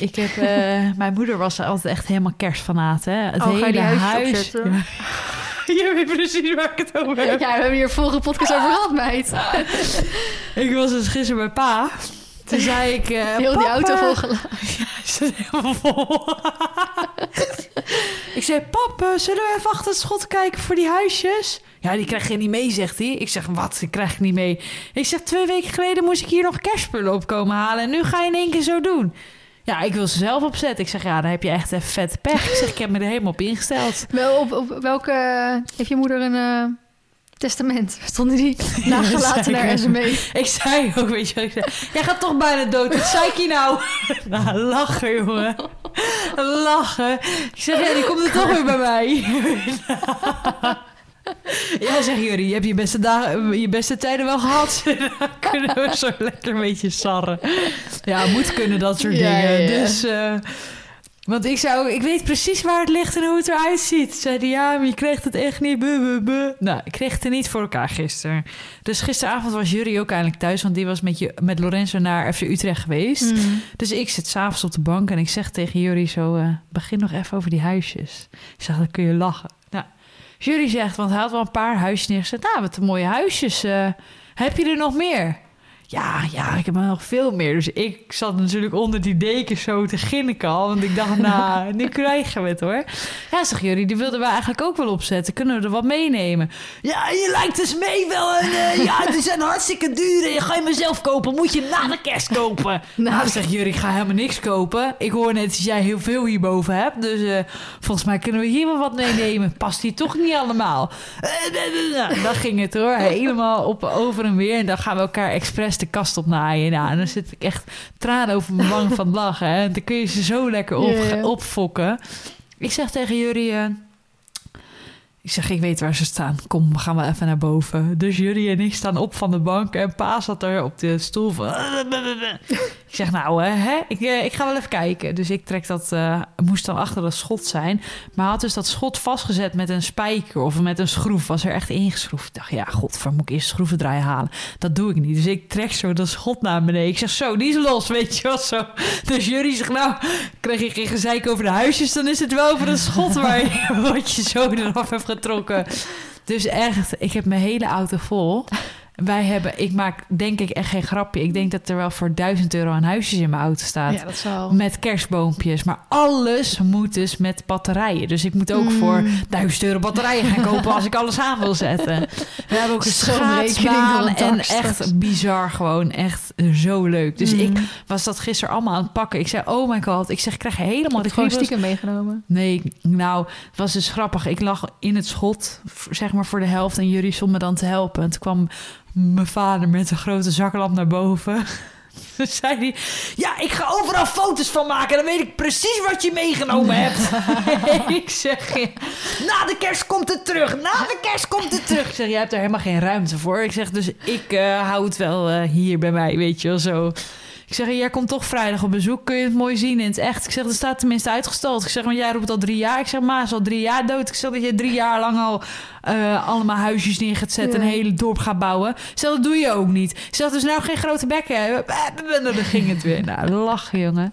A: Ik heb, eh, mijn moeder was altijd echt helemaal kerstfanaat, hè? Het
B: Oh, ga je
A: hele
B: die
A: huis.
B: huisjes opzetten?
A: Ja. Je weet precies waar ik het over
B: Ja,
A: heb.
B: we hebben hier vorige podcast over gehad, meid.
A: Ik was dus gisteren bij pa. Toen zei ik... eh,
B: Heel die
A: "Papa."
B: auto volgen.
A: Hij zit helemaal vol. ik zei, pap, eh, zullen we even achter het schot kijken voor die huisjes? Ja, die krijg je niet mee, zegt hij. Ik zeg, wat, die krijg ik niet mee? Ik zeg, twee weken geleden moest ik hier nog kerstspullen op komen halen... en nu ga je in één keer zo doen. Ja, ik wil ze zelf opzetten. Ik zeg, ja, dan heb je echt een vet pech. Ik zeg, ik heb me er helemaal op ingesteld.
B: Wel, op, op welke... Heeft je moeder een eh, testament? Stonden die nagelaten
A: zeker.
B: naar SME?
A: Ik zei ook, weet je wat ik zei? Jij gaat toch bijna dood, wat zei ik je nou? Nou, lachen, jongen. Lachen. Ik zeg, ja, die komt er toch weer bij mij. Ja, zeg Jury, je hebt je beste, dagen, je beste tijden wel gehad. Dan kunnen we zo lekker een beetje sarren. Ja, moet kunnen, dat soort
B: Ja,
A: dingen.
B: ja, ja.
A: Dus... eh, want ik zou, ik weet precies waar het ligt en hoe het eruit ziet. Zei die, ja, maar je kreeg het echt niet. buh, buh, buh." Nou, ik kreeg het er niet voor elkaar gisteren. Dus gisteravond was Jury ook eindelijk thuis, want die was met, je, met Lorenzo naar FC Utrecht geweest.
B: Mm.
A: Dus ik zit s'avonds op de bank en ik zeg tegen Jury zo... eh, begin nog even over die huisjes. Ik zeg, dan kun je lachen. Nou, Jury zegt, want hij had wel een paar huisjes neergezet. Nou, wat een mooie huisjes. eh, heb je er nog meer? Ja, ja, ik heb er nog veel meer. Dus ik zat natuurlijk onder die deken zo te ginniken al. Want ik dacht, nou, nu krijgen we het hoor. Ja, zeg Jury, die wilden we eigenlijk ook wel opzetten. Kunnen we er wat meenemen? Ja, je lijkt dus mee wel. En, eh, ja, die zijn hartstikke duur. En ga je mezelf kopen? Moet je na de kerst kopen? Nou, zegt Jury, ik ga helemaal niks kopen. Ik hoor net dat jij heel veel hierboven hebt. Dus eh, volgens mij kunnen we hier wel wat meenemen. Past die toch niet allemaal? Eh, eh, eh, nou, dan ging het hoor. Helemaal op, over en weer. En dan gaan we elkaar expres de kast op naaien. Nou, en dan zit ik echt tranen over mijn wang van het lachen. Hè. En dan kun je ze zo lekker op,
B: Ja, ja.
A: opfokken. Ik zeg tegen Jury... eh, ik zeg, ik weet waar ze staan. Kom, we gaan wel even naar boven. Dus jullie en ik staan op van de bank. En pa zat er op de stoel van... Ik zeg, nou, eh, hè, ik, eh, ik ga wel even kijken. Dus ik trek dat, eh, moest dan achter dat schot zijn. Maar had dus dat schot vastgezet met een spijker of met een schroef. Was er echt ingeschroefd. Ik dacht, ja, god, waar moet ik eerst schroevendraai halen? Dat doe ik niet. Dus ik trek zo dat schot naar beneden. Ik zeg, zo, die is los, weet je wel, zo. Dus jullie zegt, nou, kreeg ik geen gezeik over de huisjes... dan is het wel over dat schot waar je, wat je zo eraf hebt getrokken. Dus echt, ik heb mijn hele auto vol. Wij hebben, ik maak denk ik echt geen grapje. Ik denk dat er wel voor 1000 euro aan huisjes in mijn auto staat.
B: Ja, dat zal.
A: Met kerstboompjes. Maar alles moet dus met batterijen. Dus ik moet ook
B: Mm.
A: voor 1000 euro batterijen gaan kopen als ik alles aan wil zetten. We hebben ook een
B: Zo'n rekening door
A: schaatsbaan
B: het dak
A: en
B: straks.
A: echt bizar gewoon. Echt zo leuk. Dus
B: Mm.
A: ik was dat gisteren allemaal aan het pakken. Ik zei, oh my god. Ik zeg, ik krijg helemaal
B: Had
A: de
B: ik gewoon
A: kriebels.
B: stiekem meegenomen.
A: Nee, nou, het was dus grappig. Ik lag in het schot, v- zeg maar voor de helft. En jullie stond me dan te helpen. En toen kwam mijn vader met een grote zaklamp naar boven. Toen zei hij, ja, ik ga overal foto's van maken. Dan weet ik precies wat je meegenomen hebt. ik zeg, ja, na de kerst komt het terug. Na de kerst komt het terug. Ik zeg, jij hebt er helemaal geen ruimte voor. Ik zeg, dus ik eh, hou het wel eh, hier bij mij, weet je wel, zo. Ik zeg, jij komt toch vrijdag op bezoek. Kun je het mooi zien in het echt? Ik zeg, dat staat tenminste uitgestald. Ik zeg, want jij roept al drie jaar. Ik zeg, ma is al drie jaar dood. Ik zeg dat je drie jaar lang al eh, allemaal huisjes neer gaat zetten...
B: Ja.
A: en een hele dorp gaat bouwen. Ik zeg, dat doe je ook niet. Ik zeg, dus nou geen grote bekken hebben. En dan ging het weer. Nou, lachen, jongen.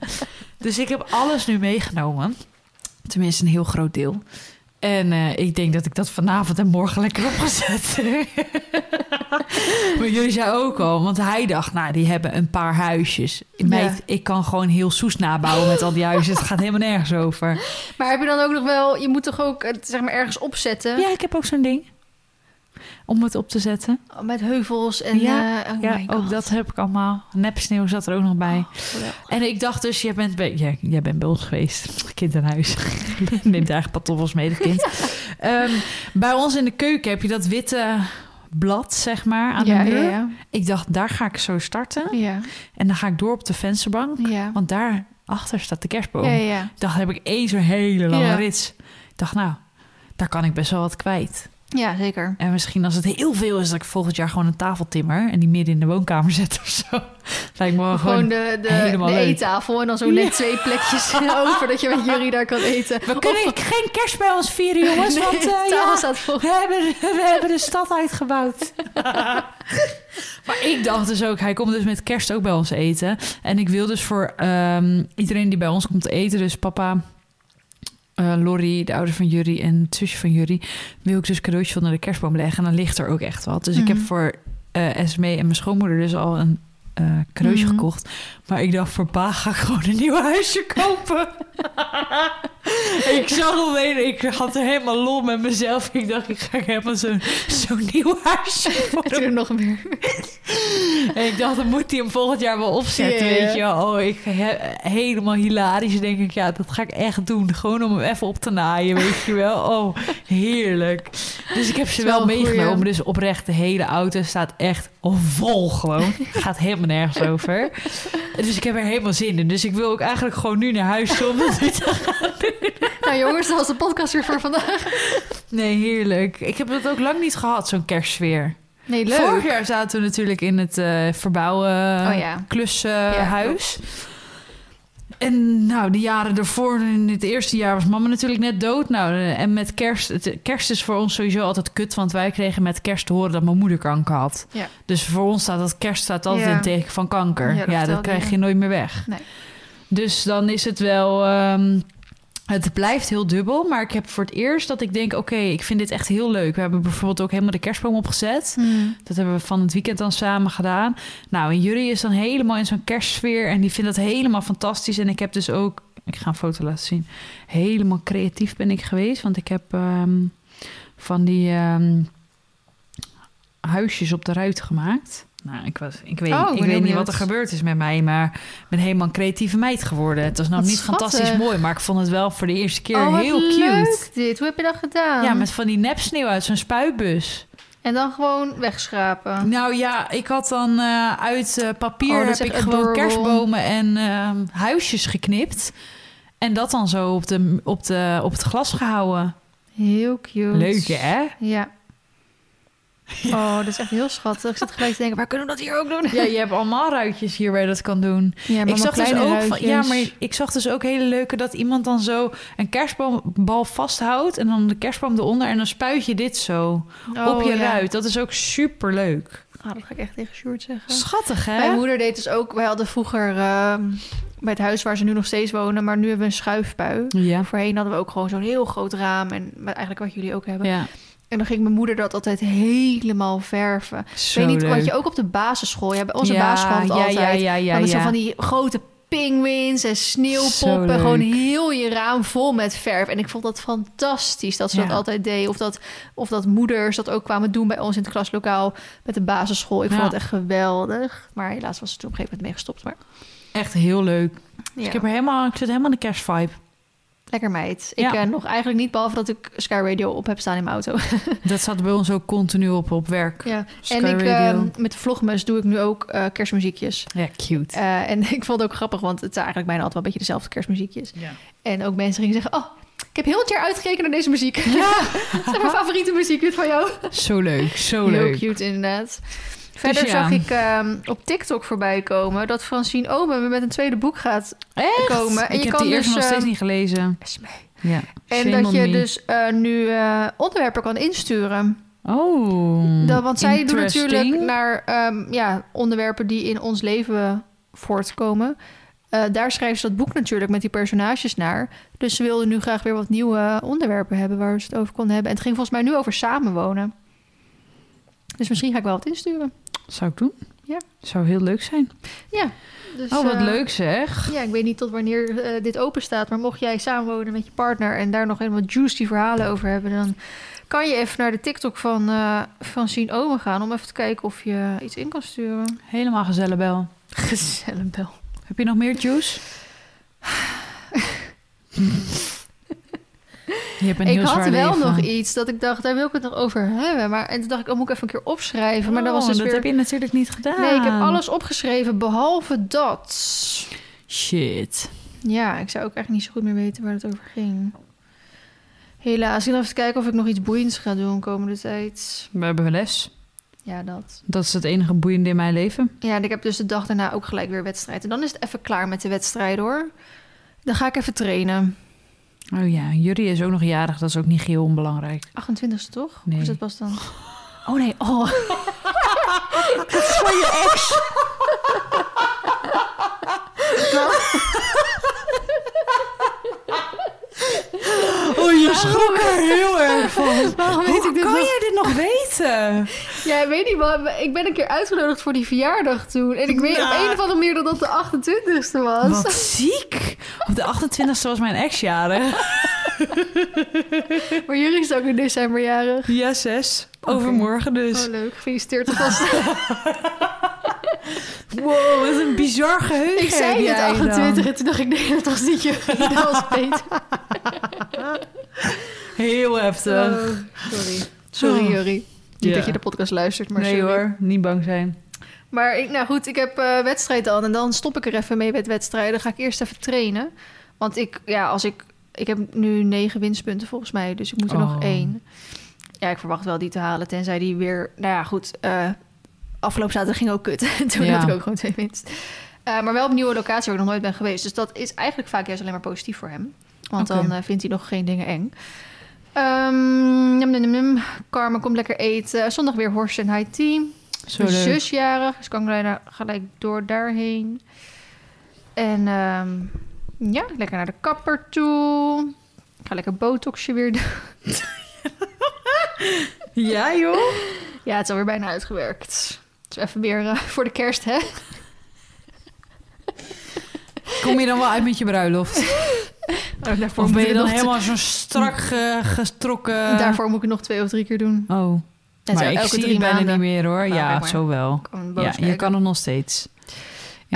A: Dus ik heb alles nu meegenomen. Tenminste, een heel groot deel. En eh, ik denk dat ik dat vanavond en morgen lekker opgezet. maar jullie zei ook al, want hij dacht, nou, die hebben een paar huisjes. Meid,
B: Ja.
A: ik kan gewoon heel Soes nabouwen met al die huisjes. Het gaat helemaal nergens over.
B: Maar heb je dan ook nog wel... Je moet toch ook het, zeg maar, ergens opzetten?
A: Ja, ik heb ook zo'n ding. Om het op te zetten.
B: Met heuvels en...
A: Ja,
B: eh, oh
A: ja,
B: my god.
A: ook dat heb ik allemaal. Nep sneeuw zat er ook nog bij.
B: Oh, geweldig.
A: En ik dacht dus, jij bent bij, jij, jij bent bij ons geweest. Kinderhuis. Neemt eigenlijk pantoffels mee, dat kind. Ehm, bij ons in de keuken heb je dat witte blad, zeg maar, aan
B: ja,
A: de muur.
B: ja, ja,
A: Ik dacht, daar ga ik zo starten.
B: ja.
A: En dan ga ik door op de vensterbank.
B: Ja,
A: Want daarachter staat de kerstboom.
B: ja, ja.
A: Ik dacht, heb ik één zo'n hele lange
B: Ja.
A: rits. Ik dacht, nou, daar kan ik best wel wat kwijt.
B: Ja, zeker.
A: En misschien als het heel veel is, dat ik volgend jaar gewoon een tafel timmer... en die midden in de woonkamer zet of zo. Lijkt me wel
B: Gewoon,
A: gewoon...
B: de, de,
A: helemaal
B: de
A: leuk.
B: eettafel en dan zo net twee plekjes over dat je met jullie daar kan eten.
A: We kunnen geen kerst bij ons vieren, jongens.
B: Nee,
A: want eh,
B: de tafel
A: ja,
B: staat vol.
A: we, hebben, we hebben de stad uitgebouwd. maar ik dacht dus ook, hij komt dus met kerst ook bij ons eten. En ik wil dus voor ehm, iedereen die bij ons komt eten, dus papa... eh Lori, de ouder van Jury en het zusje van Jury, wil ik dus cadeautjes onder de kerstboom leggen. En dan ligt er ook echt wat. Dus ik heb
B: Mhm.
A: voor eh Esme en mijn schoonmoeder dus al een eh cadeautje
B: Mhm.
A: gekocht. Maar ik dacht, voor pa ga ik gewoon een nieuw huisje kopen. ik zag alleen, ik had er helemaal lol met mezelf. Ik dacht, ik ga helemaal zo'n zo'n nieuw huisje voor
B: Doe
A: hem.
B: er nog meer.
A: En ik dacht, dan moet hij hem volgend jaar wel opzetten,
B: Ja, ja.
A: weet je wel. Oh, ik he- helemaal hilarisch denk ik, ja, dat ga ik echt doen. Gewoon om hem even op te naaien, weet je wel. Oh, heerlijk. Dus ik heb ze
B: Is wel
A: wel
B: een goeie.
A: meegenomen. Dus oprecht, de hele auto staat echt vol gewoon. Gaat helemaal nergens over. Dus ik heb er helemaal zin in. Dus ik wil ook eigenlijk gewoon nu naar huis toe. om dat weer te-
B: Nou jongens, dat was de podcast weer voor vandaag.
A: Nee, heerlijk. Ik heb dat ook lang niet gehad, zo'n kerstsfeer.
B: Nee, leuk.
A: Vorig jaar zaten we natuurlijk in het eh, verbouwen
B: Oh ja.
A: klushuis. en nou, de jaren daarvoor, in het eerste jaar, was mama natuurlijk net dood. Nou, eh, en met kerst, het, kerst is voor ons sowieso altijd kut, want wij kregen met kerst te horen dat mijn moeder kanker had.
B: Ja.
A: Dus voor ons staat dat kerst staat altijd
B: Ja.
A: in het teken van kanker.
B: Ja,
A: Ja,
B: dat
A: dat,
B: vertelde
A: krijg
B: je.
A: je nooit meer weg.
B: Nee.
A: Dus dan is het wel, ehm, het blijft heel dubbel, maar ik heb voor het eerst dat ik denk, oké, ik vind dit echt heel leuk. We hebben bijvoorbeeld ook helemaal de kerstboom opgezet.
B: Hmm.
A: Dat hebben we van het weekend dan samen gedaan. Nou, en jullie is dan helemaal in zo'n kerstsfeer. En die vindt dat helemaal fantastisch. En ik heb dus ook... Ik ga een foto laten zien. Helemaal creatief ben ik geweest. Want ik heb ehm, van die ehm, huisjes op de ruit gemaakt. Nou, ik, was, ik weet,
B: Oh, ik
A: ik
B: ben heel
A: weet niet
B: benieuwd.
A: wat er gebeurd is met mij. Maar ik ben helemaal een creatieve meid geworden. Het was nou
B: Wat
A: niet fantastisch
B: schattig.
A: mooi. Maar ik vond het wel voor de eerste keer
B: Oh, wat
A: heel cute.
B: leuk Ah. dit. Hoe heb je dat gedaan?
A: Ja, met van die nepsneeuw uit zo'n spuitbus.
B: En dan gewoon wegschrapen.
A: Nou ja, ik had dan eh, uit eh, papier
B: Oh, dat
A: heb
B: is
A: ik
B: echt
A: gewoon
B: adorable.
A: kerstbomen en ehm, huisjes geknipt. En dat dan zo op, de, op, de, op het glas gehouden.
B: Heel cute.
A: Leuk hè?
B: Ja. Oh, dat is echt heel schattig. Ik zit gelijk te denken, waar kunnen we dat hier ook doen?
A: Ja, je hebt allemaal ruitjes hier waar je dat kan doen.
B: Ja, maar
A: ik zag dus ook van- ja, maar
B: je
A: ik zag dus ook hele leuke dat iemand dan zo een kerstbal vasthoudt en dan de kerstboom eronder en dan spuit je dit zo
B: Oh,
A: op je ruit. Dat is ook super leuk.
B: Ah, dat ga ik echt tegen Sjoerd zeggen.
A: Schattig hè?
B: Mijn moeder deed dus ook... Wij hadden vroeger ehm, bij het huis waar ze nu nog steeds wonen... maar nu hebben we een schuifbui.
A: Ja.
B: Voorheen hadden we ook gewoon zo'n heel groot raam. En maar eigenlijk wat jullie ook hebben.
A: Ja.
B: En dan ging mijn moeder dat altijd helemaal verven. Ik weet niet, want je ook op de basisschool... Ja, bij onze basisschool had het altijd.
A: Ja, ja, ja.
B: Maar met
A: ja.
B: zo van die grote pinguïns en
A: Zo
B: sneeuwpoppen.
A: leuk.
B: Gewoon heel je raam vol met verf. En ik vond dat fantastisch dat ze
A: Ja.
B: dat altijd deed. Of dat, of dat moeders dat ook kwamen doen bij ons in het klaslokaal met de basisschool. Ik
A: Ja.
B: vond het echt geweldig. Maar helaas was ze toen op een gegeven moment mee gestopt. Maar
A: Echt heel leuk.
B: ja.
A: Ik, heb er helemaal, ik zit helemaal in de kerstvibe.
B: lekker meid. Ik
A: Ja.
B: eh, nog eigenlijk niet, behalve dat ik Sky Radio op heb staan in mijn auto.
A: Dat staat bij ons ook continu op, op werk.
B: ja.
A: Sky
B: En ik, eh,
A: Radio.
B: met de vlogmes doe ik nu ook eh, kerstmuziekjes.
A: Ja, cute.
B: Eh, en ik vond het ook grappig, want het zijn eigenlijk bijna altijd wel een beetje dezelfde kerstmuziekjes.
A: ja.
B: En ook mensen gingen zeggen: Oh, ik heb heel het jaar uitgekeken naar deze muziek. Ja. dat is mijn favoriete muziek dit van jou.
A: Zo leuk, zo
B: heel
A: leuk. Dus
B: cute, inderdaad. Verder
A: ja.
B: zag ik ehm, op TikTok voorbij komen dat Francine Omen weer met een tweede boek gaat komen. En
A: ik
B: je
A: heb
B: kan
A: die
B: dus.
A: eerste nog
B: ehm,
A: steeds niet gelezen. Ja.
B: en
A: Shame
B: dat
A: on
B: je
A: me.
B: dus eh, nu eh, onderwerpen kan insturen.
A: Oh,
B: Dat, want zij doen natuurlijk
A: interesting.
B: naar ehm, ja, onderwerpen die in ons leven voortkomen. Eh, daar schrijven ze dat boek natuurlijk met die personages naar. Dus ze wilden nu graag weer wat nieuwe onderwerpen hebben waar ze het over konden hebben. En het ging volgens mij nu over samenwonen. Dus misschien ga ik wel wat insturen.
A: Zou ik doen?
B: Ja.
A: Zou heel leuk zijn.
B: Ja. Dus,
A: oh, wat
B: eh,
A: leuk zeg.
B: Ja, ik weet niet tot wanneer eh, dit open staat. Maar mocht jij samenwonen met je partner en daar nog helemaal juicy verhalen over hebben, dan kan je even naar de TikTok van, eh van Sien Omen gaan om even te kijken of je iets in kan sturen.
A: Helemaal gezellenbel.
B: Gezellenbel.
A: Heb je nog meer juice? je hebt een
B: ik
A: heel
B: had
A: zwaar
B: wel
A: leven.
B: nog iets dat ik dacht, daar wil ik het nog over hebben. Maar en toen dacht ik, oh, moet ik even een keer opschrijven. Maar dat was
A: Oh,
B: dus
A: dat
B: weer.
A: heb je natuurlijk niet gedaan.
B: Nee, ik heb alles opgeschreven behalve dat.
A: Shit.
B: Ja, ik zou ook eigenlijk niet zo goed meer weten waar het over ging. Helaas, ik ga even kijken of ik nog iets boeiends ga doen komende tijd.
A: We hebben les.
B: Ja, dat.
A: Dat is het enige boeiende in mijn leven.
B: Ja, en ik heb dus de dag daarna ook gelijk weer wedstrijd. En dan is het even klaar met de wedstrijd hoor. Dan ga ik even trainen.
A: Oh ja, Jury is ook nog jarig. Dat is ook niet heel onbelangrijk.
B: 28ste toch?
A: Nee.
B: Of is dat pas dan?
A: Oh nee, oh. Nou. Oh, je schrok er heel erg van.
B: Waarom weet ik dit
A: kan
B: nog?
A: jij dit nog weten?
B: Ja, ik weet niet wat. Ik ben een keer uitgenodigd voor die verjaardag toen. En ik weet op
A: Nou.
B: een of andere manier dat dat de 28ste was.
A: Wat ziek. Op de 28e was mijn ex jarig.
B: Maar jullie is ook in december jarig.
A: Ja, zes.
B: Oké.
A: Overmorgen dus.
B: Oh, leuk. Gefeliciteerd alvast.
A: Wow, wat een bizar geheugen.
B: ik zei
A: heb
B: net
A: jij
B: 28
A: dan.
B: en toen dacht ik, nee, dat was niet jullie. Dat was Peter.
A: Heel heftig.
B: Oh, sorry. Sorry,
A: Oh.
B: Jurrie. Niet
A: Ja.
B: dat je de podcast luistert, maar
A: nee
B: sorry.
A: hoor, niet bang zijn.
B: Maar ik, nou goed, ik heb eh, wedstrijd dan. En dan stop ik er even mee met wedstrijden. Dan ga ik eerst even trainen. Want ik, ja, als ik... Ik heb nu negen winstpunten volgens mij. Dus ik moet er nog
A: Oh.
B: één. Ja, ik verwacht wel die te halen. Tenzij die weer... Nou ja, goed. eh, afgelopen zaterdag ging ook kut. Toen
A: Ja.
B: had ik ook gewoon twee winst. Eh, maar wel op een nieuwe locatie waar ik nog nooit ben geweest. Dus dat is eigenlijk vaak juist alleen maar positief voor hem. Want
A: Oké.
B: dan eh, vindt hij nog geen dingen eng. Ehm num, num, num, num. Carmen komt lekker eten. Zondag weer Horst en high tea.
A: Zo
B: Mijn
A: leuk.
B: zus jarig, dus kan ik bijna gelijk door daarheen. En ehm, ja, lekker naar de kapper toe. Ik ga lekker botoxje weer doen.
A: Ja joh.
B: Ja, het is alweer bijna uitgewerkt. Dus even weer eh, voor de kerst, hè?
A: Kom je dan wel uit met je bruiloft?
B: Oh, daarvoor,
A: Of
B: moet
A: ben
B: ik
A: je dan
B: nog-
A: helemaal zo strak eh, getrokken?
B: daarvoor moet ik het nog twee of drie keer doen.
A: Oh,
B: En
A: maar ik zie het bijna niet meer hoor.
B: Nou,
A: ja,
B: kijk maar.
A: zo wel.
B: Kan
A: Ja, je kan het nog steeds. Ja.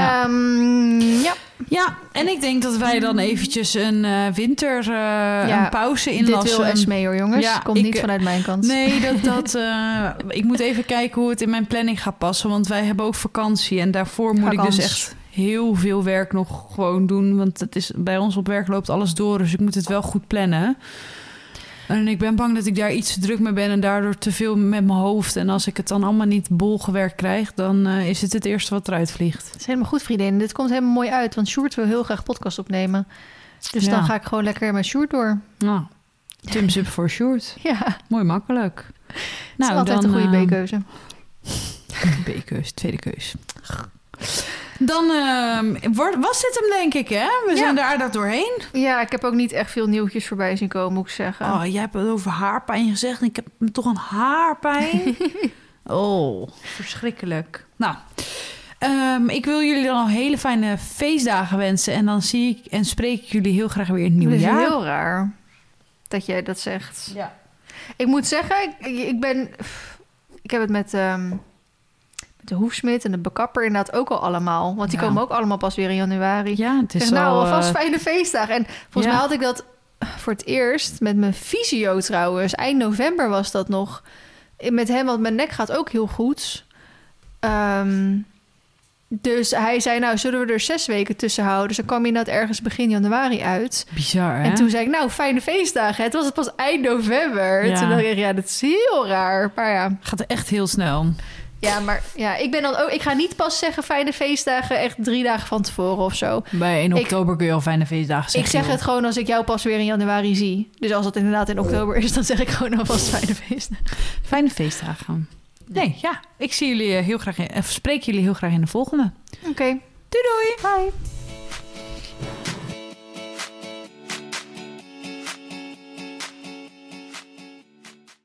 B: Ja. Ehm, ja,
A: Ja, en ik denk dat wij dan eventjes een eh, winter eh,
B: Ja,
A: een pauze
B: dit
A: inlassen.
B: wil Esmee hoor, jongens.
A: Ja,
B: Komt
A: ik- eh,
B: niet vanuit mijn kant.
A: Nee, dat, dat, eh, ik moet even kijken hoe het in mijn planning gaat passen. Want wij hebben ook vakantie. En daarvoor moet ik
B: Vakant.
A: dus echt heel veel werk nog gewoon doen. Want het is, bij ons op werk loopt alles door. Dus ik moet het wel goed plannen. En ik ben bang dat ik daar iets te druk mee ben en daardoor te veel met mijn hoofd. En als ik het dan allemaal niet bolgewerkt krijg, dan eh, is het het eerste wat eruit vliegt.
B: Het is helemaal goed, vriendin. Dit komt helemaal mooi uit, want Sjoerd wil heel graag podcast opnemen. Dus
A: Ja.
B: dan ga ik gewoon lekker met Sjoerd door.
A: Nou, Tim's up voor Sjoerd.
B: Ja, het
A: Mooi makkelijk.
B: is altijd een
A: eh,
B: goede B-keuze.
A: B-keus, tweede keus. Dan ehm, wordt- was dit hem, denk ik, hè? We
B: Ja.
A: zijn daar aardig doorheen.
B: Ja, ik heb ook niet echt veel nieuwtjes voorbij zien komen, moet ik zeggen.
A: Oh, jij hebt het over haarpijn gezegd. en Ik heb toch een haarpijn. oh, verschrikkelijk. Nou, ehm, ik wil jullie dan al hele fijne feestdagen wensen. En dan zie ik en spreek ik jullie heel graag weer in het
B: Het
A: nieuwe
B: is
A: jaar.
B: heel raar dat jij dat zegt.
A: Ja.
B: Ik moet zeggen, ik, ik ben... Ik heb het met, ehm, met de hoefsmid en de bekapper inderdaad ook al allemaal. Want die
A: Ja.
B: komen ook allemaal pas weer in januari.
A: ja, het is
B: Zeg, nou,
A: al,
B: alvast
A: eh,
B: fijne feestdagen. En volgens
A: ja.
B: mij had ik dat voor het eerst met mijn fysio trouwens. Eind november was dat nog. Eh, Met hem, want mijn nek gaat ook heel goed. Ehm, dus hij zei, nou, zullen we er zes weken tussen houden? Dus dan kwam hij dat ergens begin januari uit.
A: bizar, hè?
B: En toen zei ik, nou, fijne feestdagen. Het was het pas eind november.
A: Ja.
B: Toen dacht ik, ja, dat is heel raar. Maar ja,
A: Gaat echt heel snel.
B: ja, maar, ja ik, ben dan ook, ik ga niet pas zeggen fijne feestdagen echt drie dagen van tevoren of zo.
A: Bij 1
B: Ik-
A: oktober kun je al fijne feestdagen
B: Ik
A: zeggen.
B: zeg
A: joh.
B: het gewoon als ik jou pas weer in januari zie. Dus als het inderdaad in oktober is, dan zeg ik gewoon alvast fijne feesten.
A: Fijne feestdagen. Nee, eh, ja. Ik zie jullie eh, heel graag in, of spreek jullie heel graag in de volgende.
B: Oké. Doei doei. Bye.